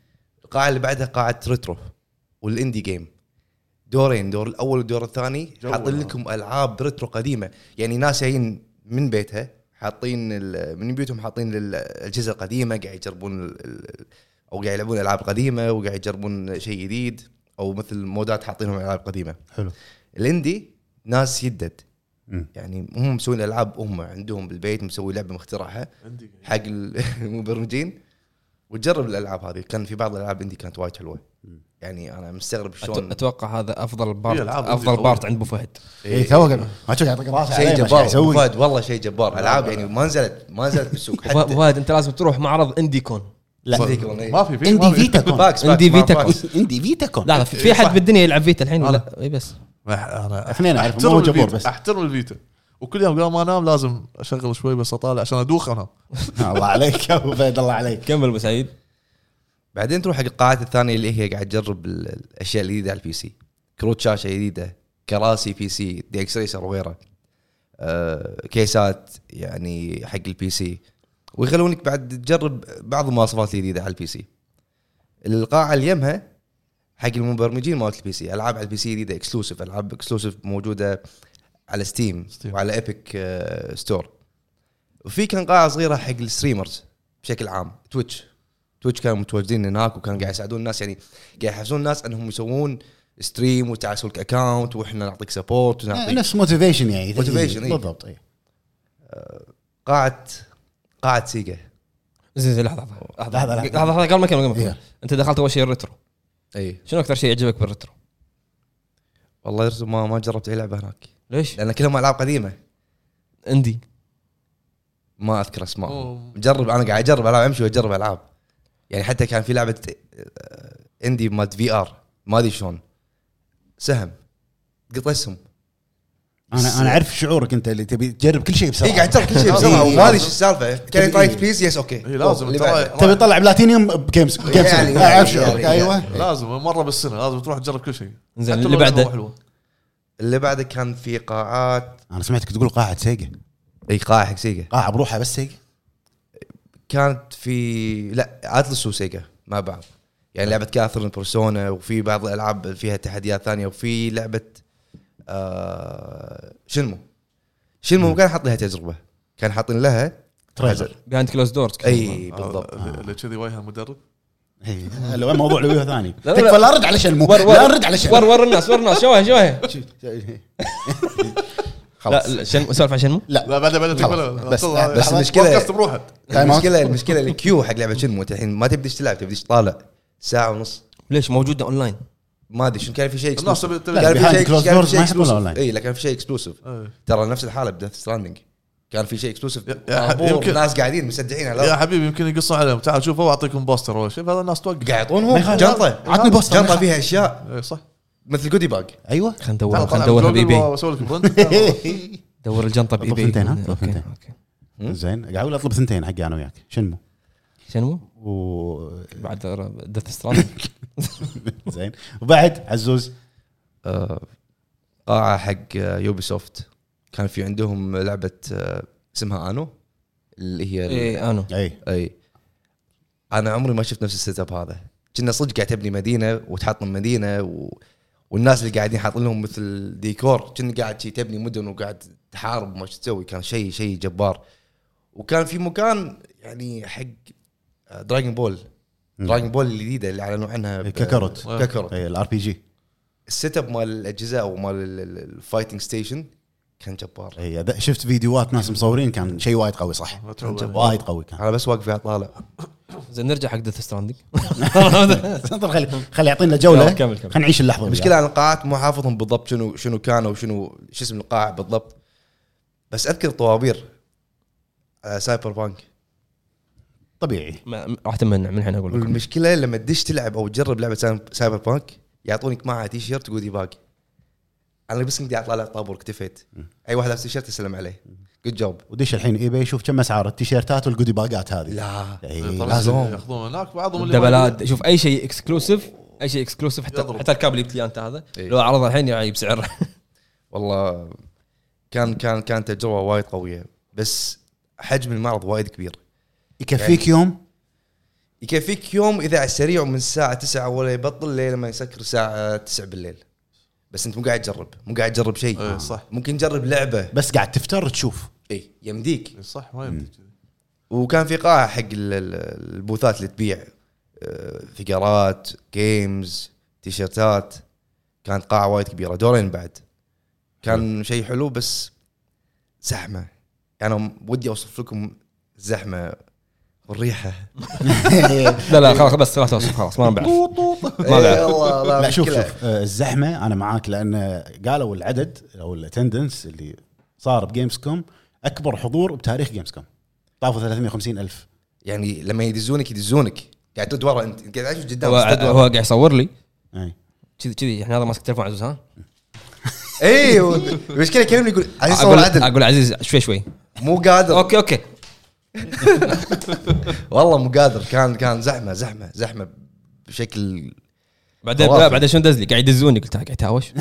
[SPEAKER 3] القاعه اللي بعدها قاعه ريترو والاندي جيم دورين دور الاول والدور الثاني
[SPEAKER 4] جو
[SPEAKER 3] حاطين
[SPEAKER 4] هذا.
[SPEAKER 3] لكم العاب ريترو قديمه يعني ناس جايين من بيتها حاطين ال- من بيوتهم حاطين الاجهزه القديمه قاعد يجربون ال- ال- او قاعد يلعبون العاب قديمه وقاعد يجربون شيء جديد او مثل مودات حاطينهم العاب قديمه
[SPEAKER 2] حلو
[SPEAKER 3] الاندي ناس يدد
[SPEAKER 2] مم.
[SPEAKER 3] يعني هم مسوين العاب هم عندهم بالبيت مسوي لعبه مخترعها
[SPEAKER 4] عندي
[SPEAKER 3] حق المبرمجين وتجرب الالعاب هذه كان في بعض الالعاب عندي كانت وايد حلوه يعني انا مستغرب
[SPEAKER 1] أت-
[SPEAKER 3] شلون
[SPEAKER 1] اتوقع هذا افضل
[SPEAKER 4] في
[SPEAKER 1] بارت
[SPEAKER 4] ألعاب
[SPEAKER 1] افضل
[SPEAKER 4] قوية.
[SPEAKER 1] بارت عند ابو فهد
[SPEAKER 2] اي تو قبل إيه، ما شو قاعد يطق راسه
[SPEAKER 3] شيء
[SPEAKER 2] عليه، ما شو
[SPEAKER 3] جبار
[SPEAKER 2] قاعد يسوي.
[SPEAKER 3] أبو فهد والله شيء جبار العاب يعني ما نزلت ما نزلت بالسوق
[SPEAKER 1] أبو- أبو
[SPEAKER 3] حتى
[SPEAKER 1] فهد انت لازم تروح معرض اندي كون
[SPEAKER 3] صدق
[SPEAKER 2] لا
[SPEAKER 3] والله.
[SPEAKER 4] ما في في
[SPEAKER 2] عندي
[SPEAKER 4] ما في
[SPEAKER 2] فيتا كون
[SPEAKER 3] فاكس
[SPEAKER 1] عندي
[SPEAKER 3] فاكس،
[SPEAKER 1] فيتا
[SPEAKER 3] ما فاكس.
[SPEAKER 2] عندي فيتا كون
[SPEAKER 1] لا لا في- في
[SPEAKER 4] صح.
[SPEAKER 1] حد بالدنيا يلعب فيتا الحين ولا
[SPEAKER 4] أنا.
[SPEAKER 1] اي بس
[SPEAKER 4] ما- انا
[SPEAKER 2] اثنين أعرفهم،
[SPEAKER 4] احترم
[SPEAKER 2] مو جبور
[SPEAKER 4] الفيتا
[SPEAKER 2] بس.
[SPEAKER 4] احترم الفيتا وكل يوم قبل ما انام لازم اشغل شوي بس اطالع عشان ادوخ انام
[SPEAKER 2] الله عليك يا ابو فهد الله عليك
[SPEAKER 1] كمل ابو سعيد
[SPEAKER 3] بعدين تروح حق القاعات الثانيه اللي هي قاعد تجرب ال- الاشياء الجديده على البي سي كروت شاشه جديده كراسي بي سي دي اكس ريسر وغيره آه كيسات يعني حق البي سي ويخلونك بعد تجرب بعض المواصفات الجديده على البي سي القاعه اللي يمها حق المبرمجين مالت البي سي العاب على البي سي جديده اكسلوسيف العاب اكسلوسيف موجوده على ستيم
[SPEAKER 4] Steam.
[SPEAKER 3] وعلى ايبك آه ستور وفي كان قاعه صغيره حق الستريمرز بشكل عام تويتش تويتش كانوا متواجدين هناك وكانوا قاعد يساعدون الناس يعني قاعد يحفزون الناس انهم يسوون ستريم وتعال سوي لك اكونت واحنا نعطيك سبورت ونعطيك
[SPEAKER 2] إيه، نفس موتيفيشن يعني
[SPEAKER 3] Motivation، إي.
[SPEAKER 2] بالضبط إي.
[SPEAKER 3] قاعه قاعه سيجا
[SPEAKER 1] زين زين لحظه لحظة. لحظه
[SPEAKER 2] لحظة،
[SPEAKER 1] لحظه
[SPEAKER 2] لحظة.
[SPEAKER 1] لحظه قبل ما اكمل قبل ما أكمل.
[SPEAKER 2] إيه.
[SPEAKER 1] انت دخلت اول شيء الريترو
[SPEAKER 3] اي
[SPEAKER 1] شنو اكثر شيء يعجبك بالريترو؟
[SPEAKER 3] والله يرسم ما ما جربت اي لعبه هناك
[SPEAKER 1] ليش؟
[SPEAKER 3] لان كلهم العاب قديمه
[SPEAKER 1] اندي
[SPEAKER 3] ما اذكر اسماء
[SPEAKER 4] أوه.
[SPEAKER 3] جرب انا قاعد اجرب العاب امشي واجرب العاب يعني حتى كان في لعبه آه، اندي مالت في ار ما ادري شلون سهم قط اسهم
[SPEAKER 2] انا انا اعرف شعورك انت اللي تبي تجرب كل شيء
[SPEAKER 3] اي
[SPEAKER 2] بسرعه
[SPEAKER 3] إيه، قاعد تجرب كل شيء بسرعه
[SPEAKER 2] إي،
[SPEAKER 3] وما ادري شو السالفه كان
[SPEAKER 2] تبي-
[SPEAKER 3] ترايت بليز يس اوكي
[SPEAKER 4] إي، إيه، لازم
[SPEAKER 3] اللي
[SPEAKER 4] ترى-
[SPEAKER 3] بعده.
[SPEAKER 2] تبي تطلع بلاتينيوم بجيمز جيمز اعرف
[SPEAKER 3] يعني- يعني-
[SPEAKER 2] شعورك
[SPEAKER 3] يعني-
[SPEAKER 2] ايوه
[SPEAKER 4] إيه. لازم مره بالسنه لازم تروح تجرب كل شيء
[SPEAKER 1] زين،
[SPEAKER 4] حتى
[SPEAKER 1] اللي
[SPEAKER 4] لو لعبة
[SPEAKER 1] بعده؟
[SPEAKER 4] مو حلوه
[SPEAKER 3] اللي بعده كان في قاعات
[SPEAKER 2] انا سمعتك تقول قاعه سيجا
[SPEAKER 3] اي قاعه حق سيجا
[SPEAKER 2] قاعه بروحها بس سيجا
[SPEAKER 3] كانت في لا اتلس وسيجا مع بعض يعني لعبه كاثرين بيرسونا وفي بعض الالعاب فيها تحديات ثانيه وفي لعبه آه شنمو شنمو كان حاط لها تجربه كان حاطين لها
[SPEAKER 2] تريلر
[SPEAKER 1] بيهاند كلوز دورز
[SPEAKER 3] اي
[SPEAKER 4] بالضبط
[SPEAKER 2] آه.
[SPEAKER 3] بالضبط
[SPEAKER 4] اللي كذي وجهها مدرب
[SPEAKER 2] إي. هلا وين إيه. موضوع لويو ثاني
[SPEAKER 1] لا، لا.
[SPEAKER 2] تكفى لا رد على شلمو لا رد على
[SPEAKER 1] ور
[SPEAKER 2] شلمو
[SPEAKER 1] ور الناس ور الناس شوها شوها
[SPEAKER 2] خلاص
[SPEAKER 1] لا شنو سولف عن شنو؟
[SPEAKER 4] لا بعد بعد
[SPEAKER 2] خلاص. بس-
[SPEAKER 3] بس المشكلة-
[SPEAKER 4] بودكاست بروحه
[SPEAKER 2] تايم أوت.
[SPEAKER 3] المشكله المشكله الكيو حق لعبه شنمو أنت الحين ما تبديش تلعب تبديش طالع ساعه ونص
[SPEAKER 1] ليش موجوده اونلاين؟
[SPEAKER 3] ما ادري شنو كان في شيء
[SPEAKER 4] الناس
[SPEAKER 3] exclusive.
[SPEAKER 4] تبي- تبي-
[SPEAKER 2] لا،
[SPEAKER 3] كان في
[SPEAKER 2] behind
[SPEAKER 3] شيء
[SPEAKER 2] closed
[SPEAKER 3] كان
[SPEAKER 2] doors
[SPEAKER 3] في شيء
[SPEAKER 2] ما يحبون
[SPEAKER 3] اكسلوسيف
[SPEAKER 2] online.
[SPEAKER 3] اي لا كان في شيء اكسكلوسيف
[SPEAKER 4] إيه.
[SPEAKER 3] ترى نفس الحاله بديث ستراندنج كان في شيء اكسكلوسيف
[SPEAKER 4] يا- يا حبيبي، يمكن-
[SPEAKER 3] ناس قاعدين مشجعين على
[SPEAKER 4] يا حبيبي يمكن يقصون عليهم تعال شوفوا واعطيكم بوستر ولا شيء هذا الناس توقع
[SPEAKER 3] قاعد
[SPEAKER 2] ما
[SPEAKER 3] يعطونهم
[SPEAKER 2] يخالف.
[SPEAKER 3] جنطه
[SPEAKER 2] عطني بوستر، ما
[SPEAKER 3] جنطه
[SPEAKER 2] يخالف.
[SPEAKER 3] فيها اشياء
[SPEAKER 4] إيه، صح
[SPEAKER 3] مثل جودي باج
[SPEAKER 2] ايوه
[SPEAKER 1] خلينا
[SPEAKER 4] تعال
[SPEAKER 1] ندورها
[SPEAKER 4] طلع
[SPEAKER 1] خلينا ندورها
[SPEAKER 4] بجوجل
[SPEAKER 1] بايباي
[SPEAKER 4] واسوي لك برنت
[SPEAKER 1] دور الجنطه
[SPEAKER 2] أطلب
[SPEAKER 1] بايباي
[SPEAKER 2] ثنتين، ها؟ أطلب
[SPEAKER 1] اوكي
[SPEAKER 2] ثنتين.
[SPEAKER 1] اوكي
[SPEAKER 2] زين قاعد اقول اطلب ثنتين حقي انا وياك شنمو
[SPEAKER 1] شنو؟
[SPEAKER 2] و
[SPEAKER 1] بعد ديث ستراند
[SPEAKER 2] زين وبعد عزوز
[SPEAKER 3] قاعه حق يوبي سوفت كان في عندهم لعبه آه، اسمها انو اللي هي ال-
[SPEAKER 1] اي انا
[SPEAKER 2] اي
[SPEAKER 3] اي انا عمري ما شفت نفس السيت اب هذا كنا صدق قاعد تبني مدينه وتحطم مدينه و... والناس اللي قاعدين حاطين لهم مثل ديكور كنا قاعد شي تبني مدن وقاعد تحارب وما شو تسوي كان شيء شيء جبار وكان في مكان يعني حق آه، دراجون بول دراجون بول الجديده اللي اعلنوا عنها ب-
[SPEAKER 2] إيه، كاكاروت.
[SPEAKER 3] آه،
[SPEAKER 2] إيه،
[SPEAKER 3] كاكاروت
[SPEAKER 2] اي الار بي جي
[SPEAKER 3] السيت اب مال الاجهزه او مال الفايتنج ستيشن كان جبار
[SPEAKER 2] اي أد- إيه، شفت فيديوهات ناس مصورين كان شيء وايد قوي صح وايد قوي كان
[SPEAKER 3] انا بس واقف قاعد طالع
[SPEAKER 1] زين نرجع حق ديث ستراندنج
[SPEAKER 2] انطر خلي خلي يعطينا جوله
[SPEAKER 1] يلا، كمل، كمل.
[SPEAKER 2] خلينا نعيش اللحظه
[SPEAKER 3] المشكله عن القاعات مو حافظهم بالضبط شنو شنو كانوا وشنو شو اسم القاعه بالضبط بس اذكر طوابير آه، على سايبر بانك
[SPEAKER 2] طبيعي
[SPEAKER 1] ما- راح تمنع من الحين اقول لكم
[SPEAKER 3] والمشكله لما تدش تلعب او تجرب لعبه سايب- سايبر بانك يعطونك معها تي شيرت جودي باج انا بس كنت قاعد طالع طابور اكتفيت اي واحد لابس تي شيرت اسلم عليه جود جوب
[SPEAKER 2] ودش الحين ايباي يشوف كم اسعار التيشيرتات والجودي باجات هذه
[SPEAKER 3] لا
[SPEAKER 2] إي،
[SPEAKER 4] لازم
[SPEAKER 2] لازم
[SPEAKER 4] إيه، ياخذون هناك بعضهم اللي
[SPEAKER 1] دبلات شوف اي شيء اكسكلوسيف اي شيء اكسكلوسيف حتى
[SPEAKER 4] يضرب.
[SPEAKER 1] حتى الكاب اللي جبت لي انت هذا
[SPEAKER 3] إي.
[SPEAKER 1] لو عرضه الحين يعني بسعر
[SPEAKER 3] والله كان كان كان تجربه وايد قويه بس حجم المعرض وايد كبير
[SPEAKER 2] يكفيك يوم
[SPEAKER 3] يكفيك يوم اذا على السريع من الساعه 9 ولا يبطل لين ما يسكر الساعه 9 بالليل بس انت مو قاعد تجرب مو قاعد تجرب شيء
[SPEAKER 4] ايه صح
[SPEAKER 3] ممكن تجرب لعبه
[SPEAKER 2] بس قاعد تفتر تشوف
[SPEAKER 3] اي يمديك
[SPEAKER 4] إيه، صح ما يمديك كذي
[SPEAKER 3] وكان في قاعه حق ال- ال- البوثات اللي تبيع آه، فيجرات جيمز تيشيرتات كانت قاعه وايد كبيره دورين بعد كان شيء حلو بس زحمه انا ودي اوصف لكم الزحمه والريحه
[SPEAKER 1] لا لا خلاص بس لا توصف خلاص ما بعرف ما بعرف.
[SPEAKER 3] إيه والله، لا
[SPEAKER 2] لا شوف
[SPEAKER 3] مشكلة.
[SPEAKER 2] شوف آه، الزحمه انا معاك لان قالوا العدد او الاتندنس اللي صار بجيمز كوم اكبر حضور بتاريخ جيمز كوم طافوا 350 الف
[SPEAKER 3] يعني لما يدزونك يدزونك قاعد تدور ورا انت قاعد تعيش قدام
[SPEAKER 1] هو
[SPEAKER 3] بس
[SPEAKER 1] هو
[SPEAKER 3] تدور.
[SPEAKER 1] قاعد يصور لي
[SPEAKER 2] اي
[SPEAKER 1] كذي كذي يعني هذا ماسك تليفون عزوز ها
[SPEAKER 3] اي المشكله يكلمني يقول عزيز إيه، صور
[SPEAKER 1] اقول
[SPEAKER 3] عدل
[SPEAKER 1] اقول عزيز شوي شوي
[SPEAKER 3] مو قادر
[SPEAKER 1] اوكي اوكي
[SPEAKER 3] والله مو قادر كان كان زحمه زحمه زحمه بشكل
[SPEAKER 1] بعدين
[SPEAKER 3] خرافي.
[SPEAKER 1] لا بعدين شنو دز لي قاعد يدزوني قلت ها، قاعد يتهاوش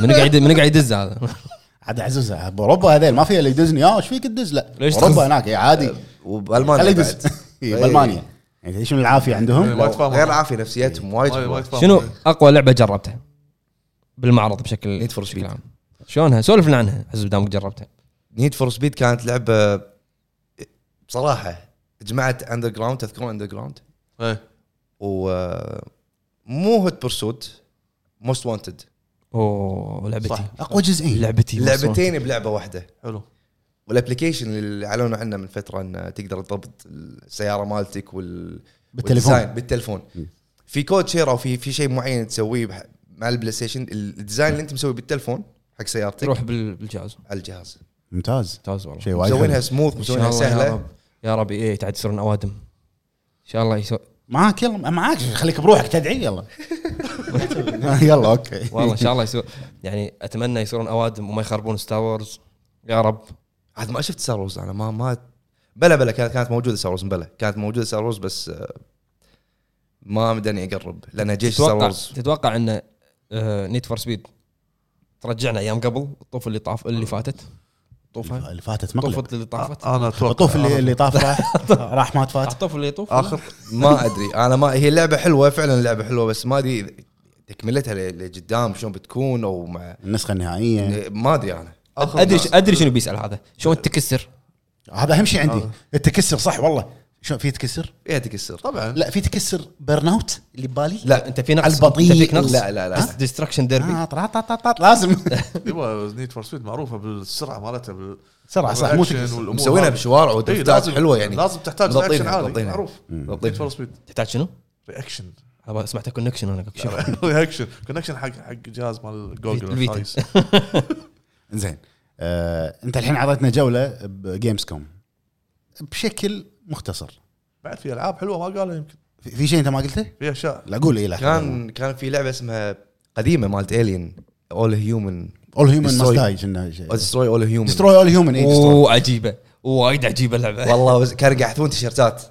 [SPEAKER 1] من قاعد من قاعد يدز هذا
[SPEAKER 2] عاد عزوزة باوروبا هذيل ما فيها اللي يدزني اه ايش فيك تدز لا
[SPEAKER 1] ليش تدز؟
[SPEAKER 2] اوروبا هناك إي، عادي
[SPEAKER 3] وبالمانيا
[SPEAKER 2] خليك بس
[SPEAKER 3] بعد.
[SPEAKER 2] إي، بالمانيا يعني يعيشون العافيه عندهم
[SPEAKER 4] وايد فاهم.
[SPEAKER 3] غير عافيه نفسيتهم وايد
[SPEAKER 4] وايد- وايد
[SPEAKER 3] حلوة.
[SPEAKER 4] فاهم.
[SPEAKER 1] شنو اقوى لعبه جربتها بالمعرض بشكل
[SPEAKER 3] Need for
[SPEAKER 1] بشكل
[SPEAKER 3] Speed.
[SPEAKER 1] عام. شلونها سولف لنا عنها حسب دامك جربتها
[SPEAKER 3] نيد فور سبيد كانت لعبه بصراحه جمعت اندر جراوند تذكرون اندر جراوند
[SPEAKER 4] إيه.
[SPEAKER 3] ومو هوت برسوت موست وانتد
[SPEAKER 1] اوه لعبتي
[SPEAKER 4] صح.
[SPEAKER 2] اقوى جزئين
[SPEAKER 1] لعبتي
[SPEAKER 3] لعبتين بلعبه واحده
[SPEAKER 4] حلو
[SPEAKER 3] والابلكيشن اللي اعلنوا عنه من فتره انه تقدر تضبط السياره مالتك وال
[SPEAKER 2] بالتليفون.
[SPEAKER 3] والديزاين بالتليفون
[SPEAKER 2] م.
[SPEAKER 3] في كود شير او في في شيء معين تسويه بح- مع البلاي ستيشن الديزاين اللي انت مسويه بالتليفون حق سيارتك
[SPEAKER 1] تروح بال- بالجهاز
[SPEAKER 3] على الجهاز
[SPEAKER 2] ممتاز
[SPEAKER 1] ممتاز والله
[SPEAKER 2] شيء وايد
[SPEAKER 3] مسوينها
[SPEAKER 2] حلو.
[SPEAKER 3] سموث
[SPEAKER 1] إن
[SPEAKER 3] مسوينها
[SPEAKER 1] شاء الله يا
[SPEAKER 3] سهله
[SPEAKER 1] رب. يا ربي ايه تعد يصيرون اوادم ان شاء الله يسو...
[SPEAKER 2] معاك يلا معاك خليك بروحك تدعي يلا يلا اوكي
[SPEAKER 1] والله ان شاء الله يسو... يعني اتمنى يصيرون اوادم وما يخربون ستار وورز يا رب
[SPEAKER 3] عاد ما شفت ستار وورز انا ما ما بلا بلا كانت كانت موجوده ستار وورز بلا كانت موجوده ستار وورز بس آه، ما مداني اقرب لان جيش ستار
[SPEAKER 1] تتوقع
[SPEAKER 3] وورز
[SPEAKER 1] تتوقع آه، ان نيت فور سبيد ترجعنا ايام قبل الطوف اللي طاف اللي فاتت طوفها
[SPEAKER 2] اللي فاتت مقلب
[SPEAKER 1] الطوف اللي
[SPEAKER 3] آه،
[SPEAKER 1] طافت
[SPEAKER 4] انا اتوقع
[SPEAKER 2] الطوف
[SPEAKER 4] أنا-
[SPEAKER 2] اللي اللي طاف راح راح ما فات
[SPEAKER 1] الطوف اللي يطوف
[SPEAKER 3] اخر ما ادري انا ما هي لعبه حلوه فعلا لعبه حلوه بس ما ادري إذا تكملتها ل- لقدام شلون بتكون او مع
[SPEAKER 2] النسخه النهائيه
[SPEAKER 3] ما ادري انا
[SPEAKER 4] آخر
[SPEAKER 1] ادري
[SPEAKER 4] ما-
[SPEAKER 1] ادري شنو بيسال هذا شلون تكسر
[SPEAKER 2] هذا اهم شيء عندي
[SPEAKER 4] آه.
[SPEAKER 2] التكسر صح والله شو في تكسر؟
[SPEAKER 3] فيها إيه تكسر
[SPEAKER 4] طبعا
[SPEAKER 2] لا في تكسر بيرن اوت اللي ببالي
[SPEAKER 1] لا انت في نقص
[SPEAKER 2] البطيء.
[SPEAKER 1] انت فيك نقص
[SPEAKER 3] لا لا لا
[SPEAKER 1] ديستركشن ديربي
[SPEAKER 2] اه طلع طلع طلع طلع لازم
[SPEAKER 4] يبا نيد فور سبيد معروفه بالسرعه مالتها بال
[SPEAKER 2] بسرعه صح مو
[SPEAKER 4] بالأكشن
[SPEAKER 2] تكسر
[SPEAKER 4] والأمور
[SPEAKER 3] مسوينها
[SPEAKER 4] هذه.
[SPEAKER 3] بشوارع
[SPEAKER 4] إيه،
[SPEAKER 3] ودفتات
[SPEAKER 4] لازم-
[SPEAKER 3] حلوه يعني
[SPEAKER 4] لازم تحتاج
[SPEAKER 3] مضبطينها،
[SPEAKER 4] رياكشن عالي
[SPEAKER 3] مضبطينها.
[SPEAKER 4] معروف نيد فور
[SPEAKER 3] مضبطينها.
[SPEAKER 4] سبيد
[SPEAKER 1] تحتاج شنو؟
[SPEAKER 4] رياكشن
[SPEAKER 1] أبا سمعت كونكشن انا شوف
[SPEAKER 4] آه. رياكشن كونكشن حق حق جهاز مال جوجل
[SPEAKER 1] الفيتا.
[SPEAKER 4] الخايس.
[SPEAKER 2] زين آه، انت الحين اعطيتنا جوله بجيمز كوم بشكل مختصر
[SPEAKER 4] بعد في العاب حلوه ما قالها يمكن
[SPEAKER 2] في- في شيء انت ما قلته؟
[SPEAKER 4] في اشياء
[SPEAKER 2] لا قول اي
[SPEAKER 3] كان كان في لعبه اسمها قديمه مالت الين اول هيومن
[SPEAKER 2] اول هيومن
[SPEAKER 3] destroy.
[SPEAKER 2] ماست
[SPEAKER 3] ديستروي اول هيومن
[SPEAKER 2] دستروي اول هيومن اي
[SPEAKER 1] اوه عجيبه وايد عجيبه اللعبه
[SPEAKER 3] والله وز- كانوا قاعد يحذفون تيشيرتات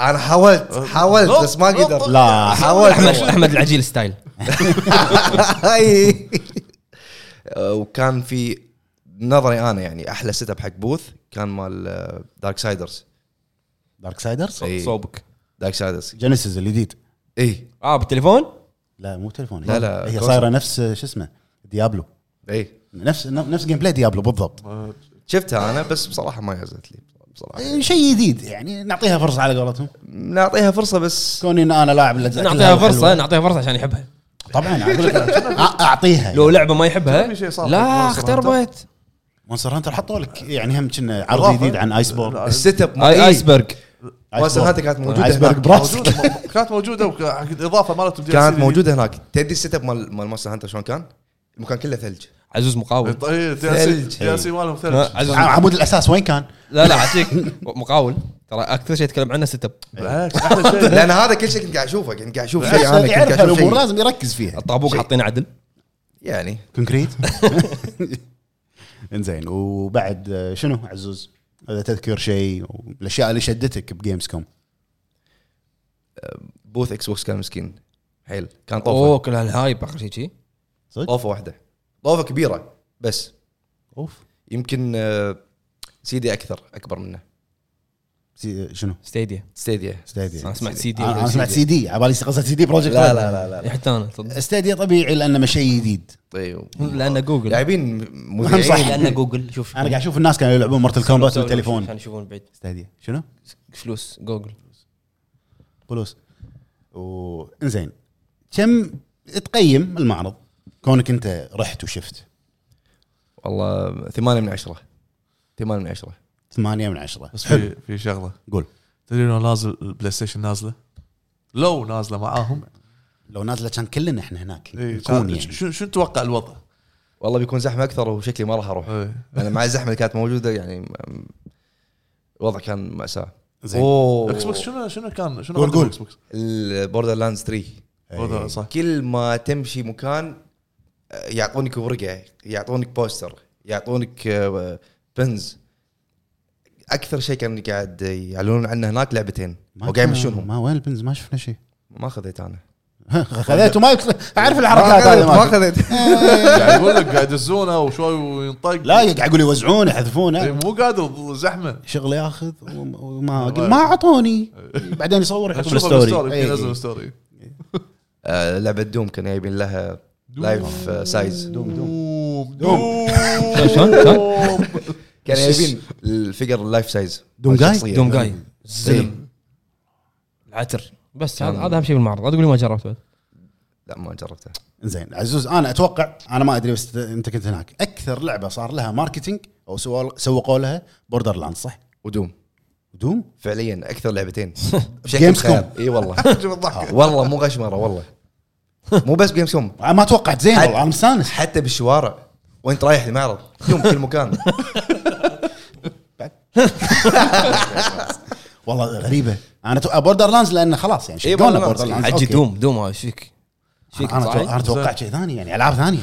[SPEAKER 3] انا حاولت
[SPEAKER 4] أه،
[SPEAKER 3] حاولت بس ما قدرت
[SPEAKER 2] لا
[SPEAKER 3] حاولت
[SPEAKER 1] احمد احمد العجيل ستايل
[SPEAKER 3] أي. وكان في نظري انا يعني احلى سيت اب حق بوث كان مال دارك سايدرز
[SPEAKER 2] دارك سايدرز
[SPEAKER 3] إي.
[SPEAKER 1] صوبك
[SPEAKER 3] دارك سايدرز
[SPEAKER 2] جينيسيس الجديد
[SPEAKER 3] اي
[SPEAKER 1] اه بالتليفون
[SPEAKER 2] لا مو تليفون
[SPEAKER 3] لا، لا،
[SPEAKER 2] هي
[SPEAKER 3] كونسول.
[SPEAKER 2] صايره نفس شو اسمه ديابلو
[SPEAKER 3] اي
[SPEAKER 2] نفس نفس جيم بلاي ديابلو بالضبط
[SPEAKER 4] آه،
[SPEAKER 3] إيه. شفتها انا بس بصراحه ما نزلت لي بصراحه
[SPEAKER 2] إيه، شيء جديد يعني نعطيها فرصه على قولتهم
[SPEAKER 3] نعطيها فرصه بس
[SPEAKER 2] كوني ان انا لاعب الأجزاء
[SPEAKER 1] نعطيها
[SPEAKER 2] كلها
[SPEAKER 1] فرصه
[SPEAKER 2] حلوة.
[SPEAKER 1] نعطيها فرصه عشان يحبها
[SPEAKER 2] طبعا أقول لك، أ- اعطيها
[SPEAKER 1] لو لعبه ما يحبها
[SPEAKER 4] في شيء صار في
[SPEAKER 1] لا
[SPEAKER 4] Monster
[SPEAKER 1] اختار
[SPEAKER 4] Hunter.
[SPEAKER 1] بيت
[SPEAKER 2] مونستر هانتر حطوا لك يعني هم كنا عرض
[SPEAKER 4] إضافة.
[SPEAKER 2] جديد عن ايس بورن
[SPEAKER 3] السيت اب
[SPEAKER 1] اي ايسبرغ
[SPEAKER 3] مونستر هانتر كانت موجوده
[SPEAKER 2] ايسبرغ
[SPEAKER 3] هناك.
[SPEAKER 2] براسك
[SPEAKER 4] موجودة- م- كانت موجوده والاضافه مالتهم DLC
[SPEAKER 3] كانت موجوده هناك تدري السيت اب مال مال مونستر هانتر شلون كان؟ المكان كله ثلج
[SPEAKER 1] عزوز مقاول
[SPEAKER 4] اي
[SPEAKER 3] ثلج.
[SPEAKER 4] دي اس مالهم ثلج
[SPEAKER 1] لا، عزوز
[SPEAKER 2] ع- عمود الاساس وين كان؟
[SPEAKER 1] لا لا عسيك مقاول ترى اكثر شيء يتكلم عنه ست اب
[SPEAKER 4] بالعكس احلى شيء
[SPEAKER 3] لان هذا كل شيء كنت قاعد اشوفه كنت قاعد اشوف شيء
[SPEAKER 2] بس
[SPEAKER 3] انا كنت قاعد
[SPEAKER 2] يعرف
[SPEAKER 3] اشوف
[SPEAKER 2] الامور
[SPEAKER 3] شيء
[SPEAKER 2] لازم يركز فيها
[SPEAKER 1] الطابوق
[SPEAKER 3] شيء.
[SPEAKER 1] حاطين عدل
[SPEAKER 3] يعني
[SPEAKER 2] كونكريت انزين وبعد آه، شنو عزوز؟ اذا تذكر شيء الاشياء اللي شدتك بجيمز كوم
[SPEAKER 3] بوث اكس بوكس كان مسكين حيل كان
[SPEAKER 1] اوه
[SPEAKER 3] طوفه
[SPEAKER 1] كل هالهايب اخر شيء شي
[SPEAKER 3] طوفه واحده طوفه كبيره بس
[SPEAKER 2] اوف
[SPEAKER 3] يمكن آه، سيدي اكثر اكبر منه
[SPEAKER 2] سي- شنو؟
[SPEAKER 1] ستيديا
[SPEAKER 3] ستيديا
[SPEAKER 2] ستاديا
[SPEAKER 1] انا سمعت سي دي
[SPEAKER 2] انا أنا سمعت سي دي على بالي قصدي سي دي بروجكت
[SPEAKER 1] طيب.
[SPEAKER 3] لا لا لا لا, لا.
[SPEAKER 1] حتى انا تصدق
[SPEAKER 2] ستاديا طبيعي لانه شيء جديد
[SPEAKER 3] طيب.
[SPEAKER 1] لان جوجل
[SPEAKER 3] لاعبين
[SPEAKER 2] مهم صح.
[SPEAKER 3] مذيعين
[SPEAKER 1] لان إيه، جوجل شوف
[SPEAKER 2] انا قاعد اشوف الناس كانوا يلعبون مارتل كومبات
[SPEAKER 1] سووا- سووا
[SPEAKER 2] بالتليفون
[SPEAKER 1] عشان يشوفون بعيد
[SPEAKER 2] ستاديا شنو؟
[SPEAKER 1] فلوس جوجل
[SPEAKER 2] فلوس وانزين كم تقيم المعرض كونك انت رحت وشفت
[SPEAKER 3] والله ثمانية من عشرة ثمانية من عشرة
[SPEAKER 2] ثمانية من عشرة
[SPEAKER 4] بس في في شغله
[SPEAKER 2] قول
[SPEAKER 4] تدري انه نازل البلاي ستيشن نازله لو نازله معاهم
[SPEAKER 2] لو نازلة كان كلنا احنا هناك
[SPEAKER 4] إيه،
[SPEAKER 2] نكون
[SPEAKER 4] كان-
[SPEAKER 2] يعني.
[SPEAKER 4] شو شو نتوقع الوضع؟
[SPEAKER 3] والله بيكون زحمة أكثر وشكلي ما راح أروح
[SPEAKER 4] إيه.
[SPEAKER 3] أنا مع الزحمة اللي كانت موجودة يعني م- الوضع كان مأساة
[SPEAKER 2] زين.
[SPEAKER 3] أوه
[SPEAKER 4] اكس بوكس شنو شنو كان شنو
[SPEAKER 2] قول-
[SPEAKER 4] عندهم
[SPEAKER 2] قول.
[SPEAKER 4] اكس بوكس؟
[SPEAKER 3] البوردر لاندز 3
[SPEAKER 4] وضع صح
[SPEAKER 3] كل ما تمشي مكان آه، يعطونك ورقه يعطونك بوستر يعطونك بنز اكثر شيء كان قاعد يعلنون عنه هناك لعبتين وقاعد يمشونهم
[SPEAKER 2] ما وين البنز ما شفنا شيء
[SPEAKER 3] ما خذيت انا
[SPEAKER 2] خذيته ما اعرف الحركات هذه
[SPEAKER 3] ما
[SPEAKER 2] ما
[SPEAKER 3] خذيت
[SPEAKER 4] قاعد يقول لك قاعد يدزونه وشوي وينطق
[SPEAKER 2] لا قاعد يقول يوزعون
[SPEAKER 4] إيه،
[SPEAKER 2] يحذفونه
[SPEAKER 4] مو قادر زحمه
[SPEAKER 2] شغل ياخذ وم- وما ما اعطوني بعدين يصور يحط
[SPEAKER 4] اشوفه بالستوري
[SPEAKER 2] إيه،
[SPEAKER 4] يمكن ينزل
[SPEAKER 2] إيه.
[SPEAKER 4] ستوري
[SPEAKER 3] آه، لعبه دوم كانوا جايبين لها آه، لايف سايز
[SPEAKER 2] دوم دوم
[SPEAKER 4] دوم
[SPEAKER 1] شلون- شلون شلون
[SPEAKER 3] كانوا جايبين الفيجر اللايف سايز
[SPEAKER 2] دوم جاي؟
[SPEAKER 3] إيه.
[SPEAKER 1] دوم جاي زلم العتر بس هذا هذا اهم شيء بالمعرض لا تقول لي ما جربت بعد
[SPEAKER 3] لا ما جربته
[SPEAKER 2] زين عزوز انا اتوقع انا ما ادري بس انت كنت هناك اكثر لعبه صار لها ماركتينج او سوا- سوقوا لها بوردر لاند صح؟
[SPEAKER 3] ودوم
[SPEAKER 2] دوم
[SPEAKER 3] فعليا اكثر لعبتين
[SPEAKER 2] Gamescom.
[SPEAKER 3] اي والله
[SPEAKER 4] شوف الضحك
[SPEAKER 3] والله مو غشمره والله مو بس جيمز كوم
[SPEAKER 2] آه. ما توقعت زين والله انا مستانس
[SPEAKER 3] حتى بالشوارع وانت رايح المعرض يوم كل مكان
[SPEAKER 2] والله غريبه انا تو... بوردر لاندز لان آه، خلاص يعني
[SPEAKER 3] إيه،
[SPEAKER 2] شقونا
[SPEAKER 3] Borderlands.
[SPEAKER 2] بوردر لاندز
[SPEAKER 1] عجي دوم دوم ايش فيك؟ ايش فيك
[SPEAKER 2] انا تو... انا
[SPEAKER 1] صاحي؟
[SPEAKER 2] توقعت شيء ثاني يعني العاب ثانيه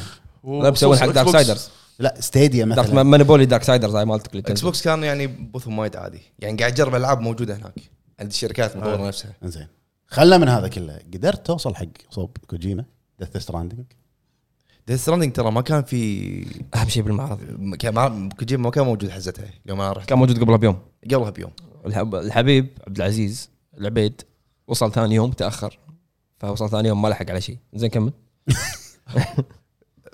[SPEAKER 1] لا بسوي حق دارك سايدرز
[SPEAKER 2] لا ستيديا
[SPEAKER 1] دارك
[SPEAKER 2] مثلا
[SPEAKER 1] مانيبولي دارك سايدرز هاي مالتك اللي
[SPEAKER 3] اكس
[SPEAKER 1] تنزل.
[SPEAKER 3] بوكس كان يعني بوثهم وايد عادي يعني قاعد اجرب العاب موجوده هناك عند الشركات مطوره نفسها
[SPEAKER 2] زين خلنا من هذا كله قدرت توصل حق صوب كوجيما ديث ستراندنج
[SPEAKER 3] ديث ستراندنج ترى ما كان في
[SPEAKER 1] اهم شيء بالمعرض
[SPEAKER 3] م- كان ما كوجيما ما كان موجود حزتها يوم انا رحت
[SPEAKER 1] كان موجود قبلها بيوم
[SPEAKER 3] قبلها بيوم
[SPEAKER 1] الحب- الحبيب عبد العزيز العبيد وصل ثاني يوم تاخر فوصل ثاني يوم ما لحق على شيء زين كمل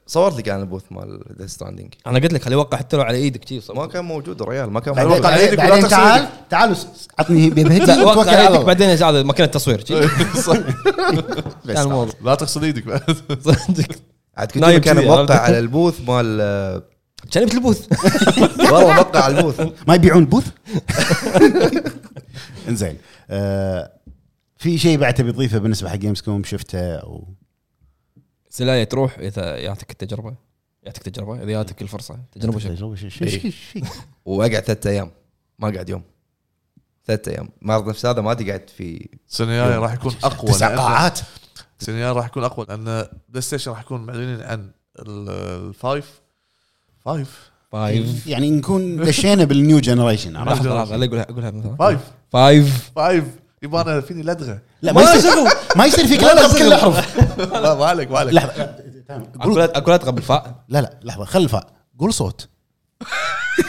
[SPEAKER 3] صورت لك انا البوث مال ديث ستراندنج
[SPEAKER 1] انا قلت لك خليه يوقع حتى لو على ايدك شي
[SPEAKER 3] ما كان موجود الريال ما كان
[SPEAKER 2] بعدين
[SPEAKER 3] موجود
[SPEAKER 4] على يدك ولا
[SPEAKER 2] بعدين
[SPEAKER 4] تغسل
[SPEAKER 2] تعال تعال وس- عطني بهجه
[SPEAKER 1] لا وقع
[SPEAKER 2] توكل
[SPEAKER 1] على
[SPEAKER 2] على
[SPEAKER 1] ايدك
[SPEAKER 2] الله
[SPEAKER 1] بعدين يا زعل مكان التصوير شي. كان الموضوع
[SPEAKER 4] لا تغسل ايدك بعد
[SPEAKER 1] صدق
[SPEAKER 3] عاد كوجيما
[SPEAKER 1] نايم
[SPEAKER 3] كان
[SPEAKER 1] كذي،
[SPEAKER 3] موقع
[SPEAKER 1] عرفت؟
[SPEAKER 3] على البوث مال آه،
[SPEAKER 1] كان يبت البوث
[SPEAKER 3] والله موقع على البوث
[SPEAKER 2] ما يبيعون بوث انزين آه، في شيء بعد تبي تضيفه بالنسبه حق جيمز كوم شفته او
[SPEAKER 1] سلاية تروح اذا يعطيك التجربه يعطيك تجربه اذا يعطيك الفرصه تجربه شكل
[SPEAKER 2] تجربة شيء شيء شيء شيء
[SPEAKER 3] واقعد ثلاث ايام ما قعد يوم ثلاث ايام معرض نفس هذا ما أدري قعدت في
[SPEAKER 4] السنه الجايه راح يكون اقوى
[SPEAKER 2] تسع
[SPEAKER 4] لأن-
[SPEAKER 2] قاعات
[SPEAKER 4] السنه الجايه راح يكون اقوى لان بلاي ستيشن راح يكون معلنين عن ال- الفايف فايف
[SPEAKER 1] فايف
[SPEAKER 2] يعني نكون دشينا بالنيو جنريشن عرفت؟
[SPEAKER 1] لحظه لحظه طيب. لا اقولها اقولها مثلا
[SPEAKER 4] فايف
[SPEAKER 1] فايف
[SPEAKER 4] فايف يبا انا فيني لدغه
[SPEAKER 2] لا ما يصير ما يصير فيك لا بكل احرف
[SPEAKER 4] لا ما عليك ما عليك
[SPEAKER 2] لحظه
[SPEAKER 1] اقول اقول اتقبل الفاء
[SPEAKER 2] لا لا لحظه خل الفاء قول صوت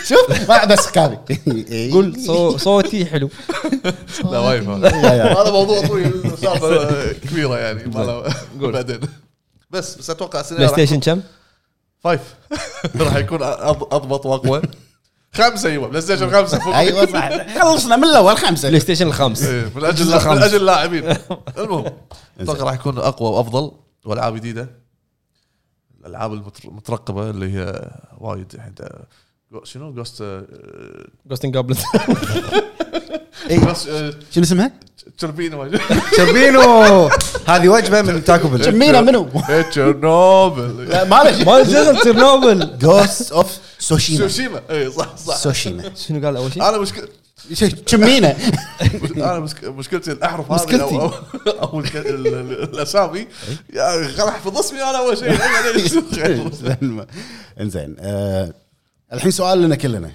[SPEAKER 2] شوف ما بس كافي
[SPEAKER 1] قول صو- صوتي حلو
[SPEAKER 4] لا وايفا
[SPEAKER 2] يا- يا.
[SPEAKER 4] هذا موضوع طويل سالفه كبيره يعني ما له- بعدين بس بس اتوقع السنه
[SPEAKER 1] بلاي
[SPEAKER 4] راح
[SPEAKER 1] ستيشن كم؟
[SPEAKER 4] فايف راح يكون أض- اضبط واقوى خمسه ايوه بلاي ستيشن خمسه فوق
[SPEAKER 2] ايوه صح خلصنا من الاول
[SPEAKER 1] بلاي
[SPEAKER 2] خمسه
[SPEAKER 1] ستيشن الخامس
[SPEAKER 4] إيه، من اجل من اجل اللاعبين المهم اتوقع راح يكون اقوى وافضل والعاب جديده الالعاب المتر- المترقبه اللي هي وايد الحين تا- جو- شنو آه، جوست
[SPEAKER 1] جوستن جابلت
[SPEAKER 2] إيه.
[SPEAKER 4] آه،
[SPEAKER 2] شنو اسمها؟
[SPEAKER 4] تشربينو
[SPEAKER 3] شربينو هذه وجبه من تاكو بل
[SPEAKER 2] شمينا منو؟
[SPEAKER 4] تشيرنوبل
[SPEAKER 2] لا، معلش
[SPEAKER 1] ما نزلت تشيرنوبل
[SPEAKER 2] جوست اوف سوشيما
[SPEAKER 4] سوشيما اي صح صح
[SPEAKER 2] سوشيما
[SPEAKER 1] شنو قال اول شيء؟
[SPEAKER 4] انا مشكلة
[SPEAKER 2] شمينا
[SPEAKER 4] انا مشك- مشكلتي الاحرف هذه
[SPEAKER 1] مشكلتي.
[SPEAKER 4] او, أو الك- ال- ال- الاسامي يا أخي، خل احفظ اسمي انا اول شيء لك-
[SPEAKER 2] انزين آه، الحين سؤال لنا كلنا
[SPEAKER 4] لك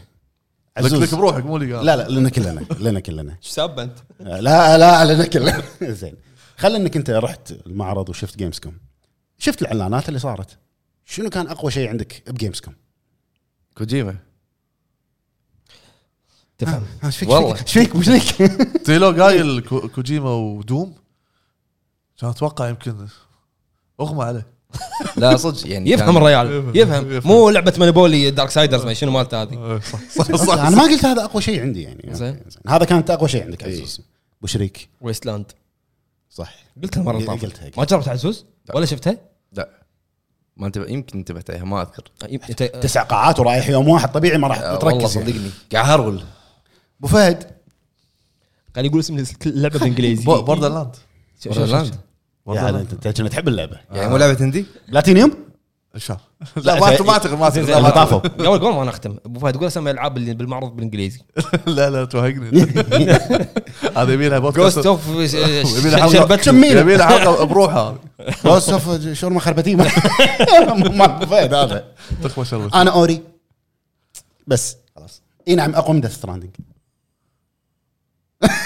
[SPEAKER 2] عزوز
[SPEAKER 4] بروحك مو لي قال
[SPEAKER 2] لا لا لنا كلنا لنا كلنا آه،
[SPEAKER 1] ايش ساب انت؟
[SPEAKER 2] لا لا لنا كلنا زين خل انك انت رحت المعرض وشفت جيمز كوم شفت الاعلانات اللي صارت شنو كان اقوى شيء عندك بجيمز كوم؟
[SPEAKER 3] كوجيما
[SPEAKER 1] تفهم
[SPEAKER 2] ايش فيك
[SPEAKER 3] والله.
[SPEAKER 2] ايش فيك وش لك؟
[SPEAKER 4] تيلو قايل كو- كوجيما ودوم كان اتوقع يمكن اغمى عليه
[SPEAKER 3] لا صدق يعني
[SPEAKER 1] يفهم
[SPEAKER 3] كان-
[SPEAKER 1] الريال يفهم مو لعبه مونوبولي دارك سايدرز ما شنو مالته هذه
[SPEAKER 4] إيه، صح صح صح
[SPEAKER 2] انا ما قلت هذا اقوى شيء عندي يعني
[SPEAKER 1] زين.
[SPEAKER 2] أوكي، زين. هذا كانت اقوى شيء عندك عزوز بشريك
[SPEAKER 1] ويستلاند
[SPEAKER 2] صح
[SPEAKER 1] قلتها المره اللي
[SPEAKER 2] قلتها،
[SPEAKER 1] طافت
[SPEAKER 2] قلتها.
[SPEAKER 1] ما جربتها عزوز ولا شفتها؟
[SPEAKER 3] لا ما انتبه يمكن انتبهت عليها ما اذكر
[SPEAKER 1] انت
[SPEAKER 2] تسع قاعات ورايح يوم واحد طبيعي ما راح
[SPEAKER 3] والله
[SPEAKER 2] تركز يعني.
[SPEAKER 3] صدقني قاعد هرول
[SPEAKER 2] ابو فهد
[SPEAKER 1] قال يقول اسم اللعبه بالانجليزي
[SPEAKER 4] بوردر لاند
[SPEAKER 1] شوف- شوف- شوف.
[SPEAKER 2] يا هلا، انت يعني أنت كنت تحب اللعبه
[SPEAKER 3] يعني مو لعبه هندي
[SPEAKER 2] بلاتينيوم؟
[SPEAKER 4] ان شاء الله لا ما أعتقد- ما اعتقد ما اعتقد لا،
[SPEAKER 2] اللي
[SPEAKER 4] ما أعتقد.
[SPEAKER 2] طافوا
[SPEAKER 1] قبل قبل ما نختم ابو فهد قول اسامي الالعاب اللي بالمعرض بالانجليزي
[SPEAKER 4] لا لا توهقني هذا يبي لها بودكاست
[SPEAKER 1] جوست اوف
[SPEAKER 4] يبي لها حلقه يبي لها حلقه بروحها
[SPEAKER 2] بوس اوف شاورما خربتيه مال ابو فهد هذا
[SPEAKER 4] تخمه شربت
[SPEAKER 2] انا اوري بس خلاص اي نعم اقوى من ديث ستراندنج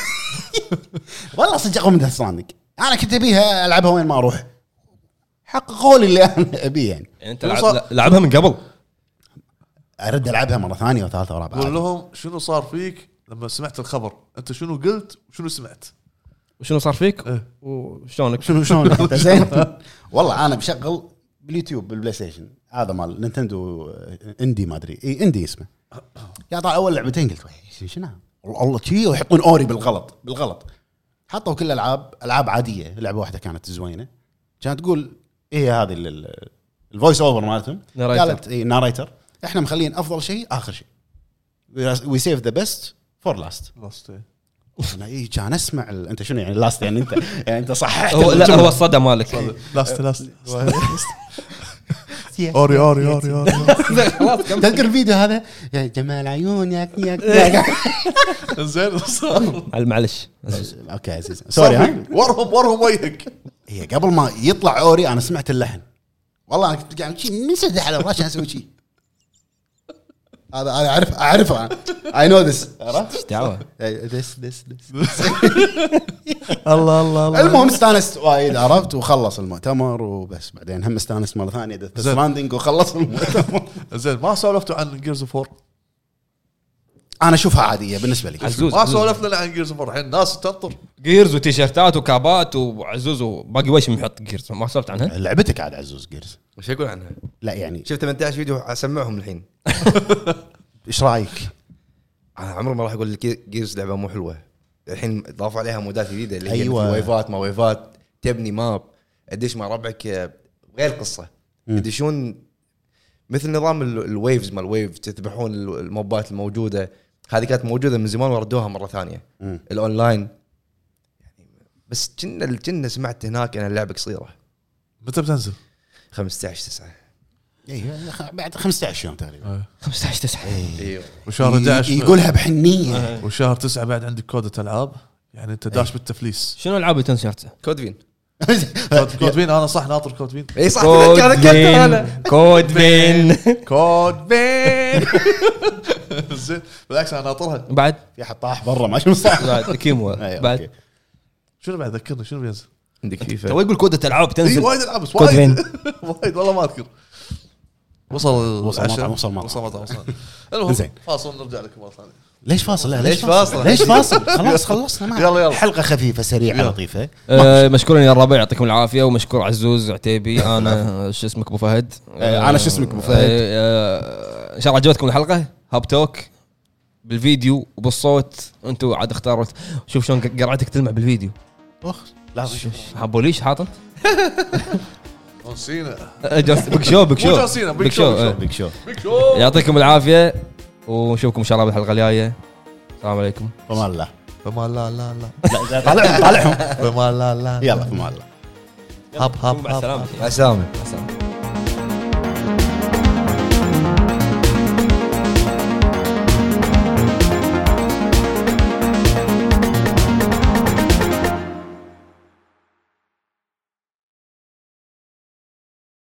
[SPEAKER 2] والله صدق اقوى من ديث ستراندنج انا كنت ابيها العبها وين ما اروح حققوا لي اللي انا ابيه يعني
[SPEAKER 1] انت لعب- لعبها من قبل
[SPEAKER 2] ارد العبها مره ثانيه وثالثه ورابعه
[SPEAKER 4] قول لهم شنو صار فيك لما سمعت الخبر انت شنو قلت وشنو سمعت
[SPEAKER 1] وشنو صار فيك
[SPEAKER 4] إيه.
[SPEAKER 1] وشلونك
[SPEAKER 2] شنو شلون انت زين والله انا مشغل باليوتيوب بالبلاي ستيشن هذا مال نينتندو آه، اندي ما ادري اي اندي اسمه يا طال اول لعبتين قلت وي، شنو- شنو هذا؟ والله الله شي ويحطون اوري بالغلط بالغلط حطوا كل العاب العاب عاديه لعبه واحده كانت زوينه كانت تقول ايه هذه ال- ال- الفويس اوفر مالتهم
[SPEAKER 1] ناريتر.
[SPEAKER 2] قالت اي ناريتر احنا مخلين افضل شيء اخر شيء وي سيف ذا بيست فور لاست
[SPEAKER 4] خلاص، إيه.
[SPEAKER 2] انا اي كان اسمع ال- انت شنو يعني لاست يعني انت يعني انت صححت
[SPEAKER 1] هو لا
[SPEAKER 2] الجملة.
[SPEAKER 1] هو الصدى مالك
[SPEAKER 4] لاست لاست اوري اوري اوري اوري
[SPEAKER 1] خلاص
[SPEAKER 2] تذكر الفيديو هذا يا جمال عيون يا يا- يا
[SPEAKER 4] زين صار
[SPEAKER 1] معلش
[SPEAKER 2] اوكي عزيز سوري ها
[SPEAKER 4] ورهم ورهم وجهك
[SPEAKER 2] هي قبل ما يطلع اوري انا سمعت اللحن والله انا كنت قاعد شي منسدح على الراس عشان اسوي شي هذا هذا اعرف اعرفه اي نو ذس
[SPEAKER 1] ايش دعوه
[SPEAKER 2] ذس ذس
[SPEAKER 4] الله الله الله
[SPEAKER 2] المهم استانست وايد عرفت وخلص المؤتمر وبس بعدين هم استانست مره ثانيه ديث
[SPEAKER 4] زين.
[SPEAKER 2] ستراندنج وخلص المؤتمر
[SPEAKER 4] زين ما سولفتوا عن جيرز اوف 4
[SPEAKER 2] انا اشوفها عاديه بالنسبه لي
[SPEAKER 1] عزوز
[SPEAKER 4] ما سولفنا لنا عن جيرز اوف 4 الحين الناس تنطر
[SPEAKER 1] جيرز وتيشيرتات وكابات وعزوز وباقي وش محط جيرز ما سولفت عنها
[SPEAKER 2] لعبتك عاد عزوز جيرز
[SPEAKER 3] وش اقول عنها؟
[SPEAKER 2] لا يعني
[SPEAKER 3] شفت 18 فيديو اسمعهم الحين
[SPEAKER 2] ايش رايك؟
[SPEAKER 3] انا عمري ما راح اقول لك جيرز لعبه مو حلوه الحين ضافوا عليها مودات جديده اللي هي
[SPEAKER 2] أيوة.
[SPEAKER 3] أيوة. ويفات ما ويفات تبني ماب ادش مع ربعك آه، غير قصه يدشون مثل نظام ال- الويفز مال الويف تذبحون ال- الموبات الموجوده هذه كانت موجوده من زمان وردوها مره ثانيه
[SPEAKER 2] مم.
[SPEAKER 3] الاونلاين يعني بس كنا كنا سمعت هناك ان اللعبه قصيره
[SPEAKER 4] متى بتنزل؟
[SPEAKER 3] 15 9
[SPEAKER 2] اي إيه، خ- بعد 15 يوم تقريبا
[SPEAKER 1] 15 9
[SPEAKER 3] ايوه
[SPEAKER 4] وشهر 11
[SPEAKER 2] ي- يقولها بحنيه
[SPEAKER 4] وشهر 9 بعد عندك كودة العاب يعني انت داش بالتفليس
[SPEAKER 1] شنو العاب اللي تنشرتها؟
[SPEAKER 3] كودفين
[SPEAKER 4] كود- كود بين انا صح ناطر كود بين
[SPEAKER 3] اي صح تذكر- ذكرتها انا
[SPEAKER 1] كود بين
[SPEAKER 4] كود بين زين بالعكس انا ناطرها
[SPEAKER 1] بعد
[SPEAKER 2] في حد طاح برا ما شنو صح
[SPEAKER 1] بعد كيمو
[SPEAKER 2] أي،
[SPEAKER 1] بعد
[SPEAKER 2] أيوة، أوكي.
[SPEAKER 4] شنو بعد ذكرني شنو بينزل؟
[SPEAKER 3] عندك
[SPEAKER 1] تو
[SPEAKER 3] فيفا
[SPEAKER 1] يقول كودة العاب
[SPEAKER 4] اي
[SPEAKER 1] تنزل
[SPEAKER 4] وايد العاب بس
[SPEAKER 1] كود
[SPEAKER 4] وايد
[SPEAKER 1] بين.
[SPEAKER 4] وايد والله ما اذكر وصل
[SPEAKER 2] وصل
[SPEAKER 4] العشاء.
[SPEAKER 2] مطعم، وصل مطعم.
[SPEAKER 4] وصل مطعم وصل المهم
[SPEAKER 2] زين.
[SPEAKER 4] فاصل نرجع لكم مره ثانيه
[SPEAKER 2] ليش فاصل لا
[SPEAKER 3] ليش فاصل؟
[SPEAKER 2] ليش فاصل خلاص خلصنا ما-
[SPEAKER 4] يلا، يلا.
[SPEAKER 2] حلقه خفيفه سريعه
[SPEAKER 4] يلا.
[SPEAKER 2] لطيفه
[SPEAKER 1] آه مشكورين يا الربع يعطيكم العافيه ومشكور عزوز عتيبي انا شو اسمك ابو فهد
[SPEAKER 2] آه، أنا شو اسمك أبو
[SPEAKER 1] آه،
[SPEAKER 2] فهد؟
[SPEAKER 1] آه، ان شاء الله عجبتكم الحلقه هاب توك بالفيديو وبالصوت انتم عاد اختاروا شوف شلون قرعتك تلمع بالفيديو
[SPEAKER 2] اخ لحظه شوف
[SPEAKER 1] حبوا ليش حاطط
[SPEAKER 4] جون سينا
[SPEAKER 1] آه، جوست- بيك شو بيك
[SPEAKER 4] مو
[SPEAKER 1] شو
[SPEAKER 4] جون سينا، بيك
[SPEAKER 1] بيك
[SPEAKER 4] شو،
[SPEAKER 1] شو
[SPEAKER 4] بيك شو.
[SPEAKER 1] آه.
[SPEAKER 2] بيك شو
[SPEAKER 4] بيك شو
[SPEAKER 1] يعطيكم العافيه ونشوفكم ان شاء الله بالحلقه الجايه السلام عليكم
[SPEAKER 2] فما الله
[SPEAKER 3] فما لا لا لا
[SPEAKER 2] لا طالعهم طالعهم
[SPEAKER 3] فما لا لا
[SPEAKER 2] يلا فما الله
[SPEAKER 3] هب هب
[SPEAKER 1] مع السلامة.
[SPEAKER 3] هب مع السلامه
[SPEAKER 1] مع السلامه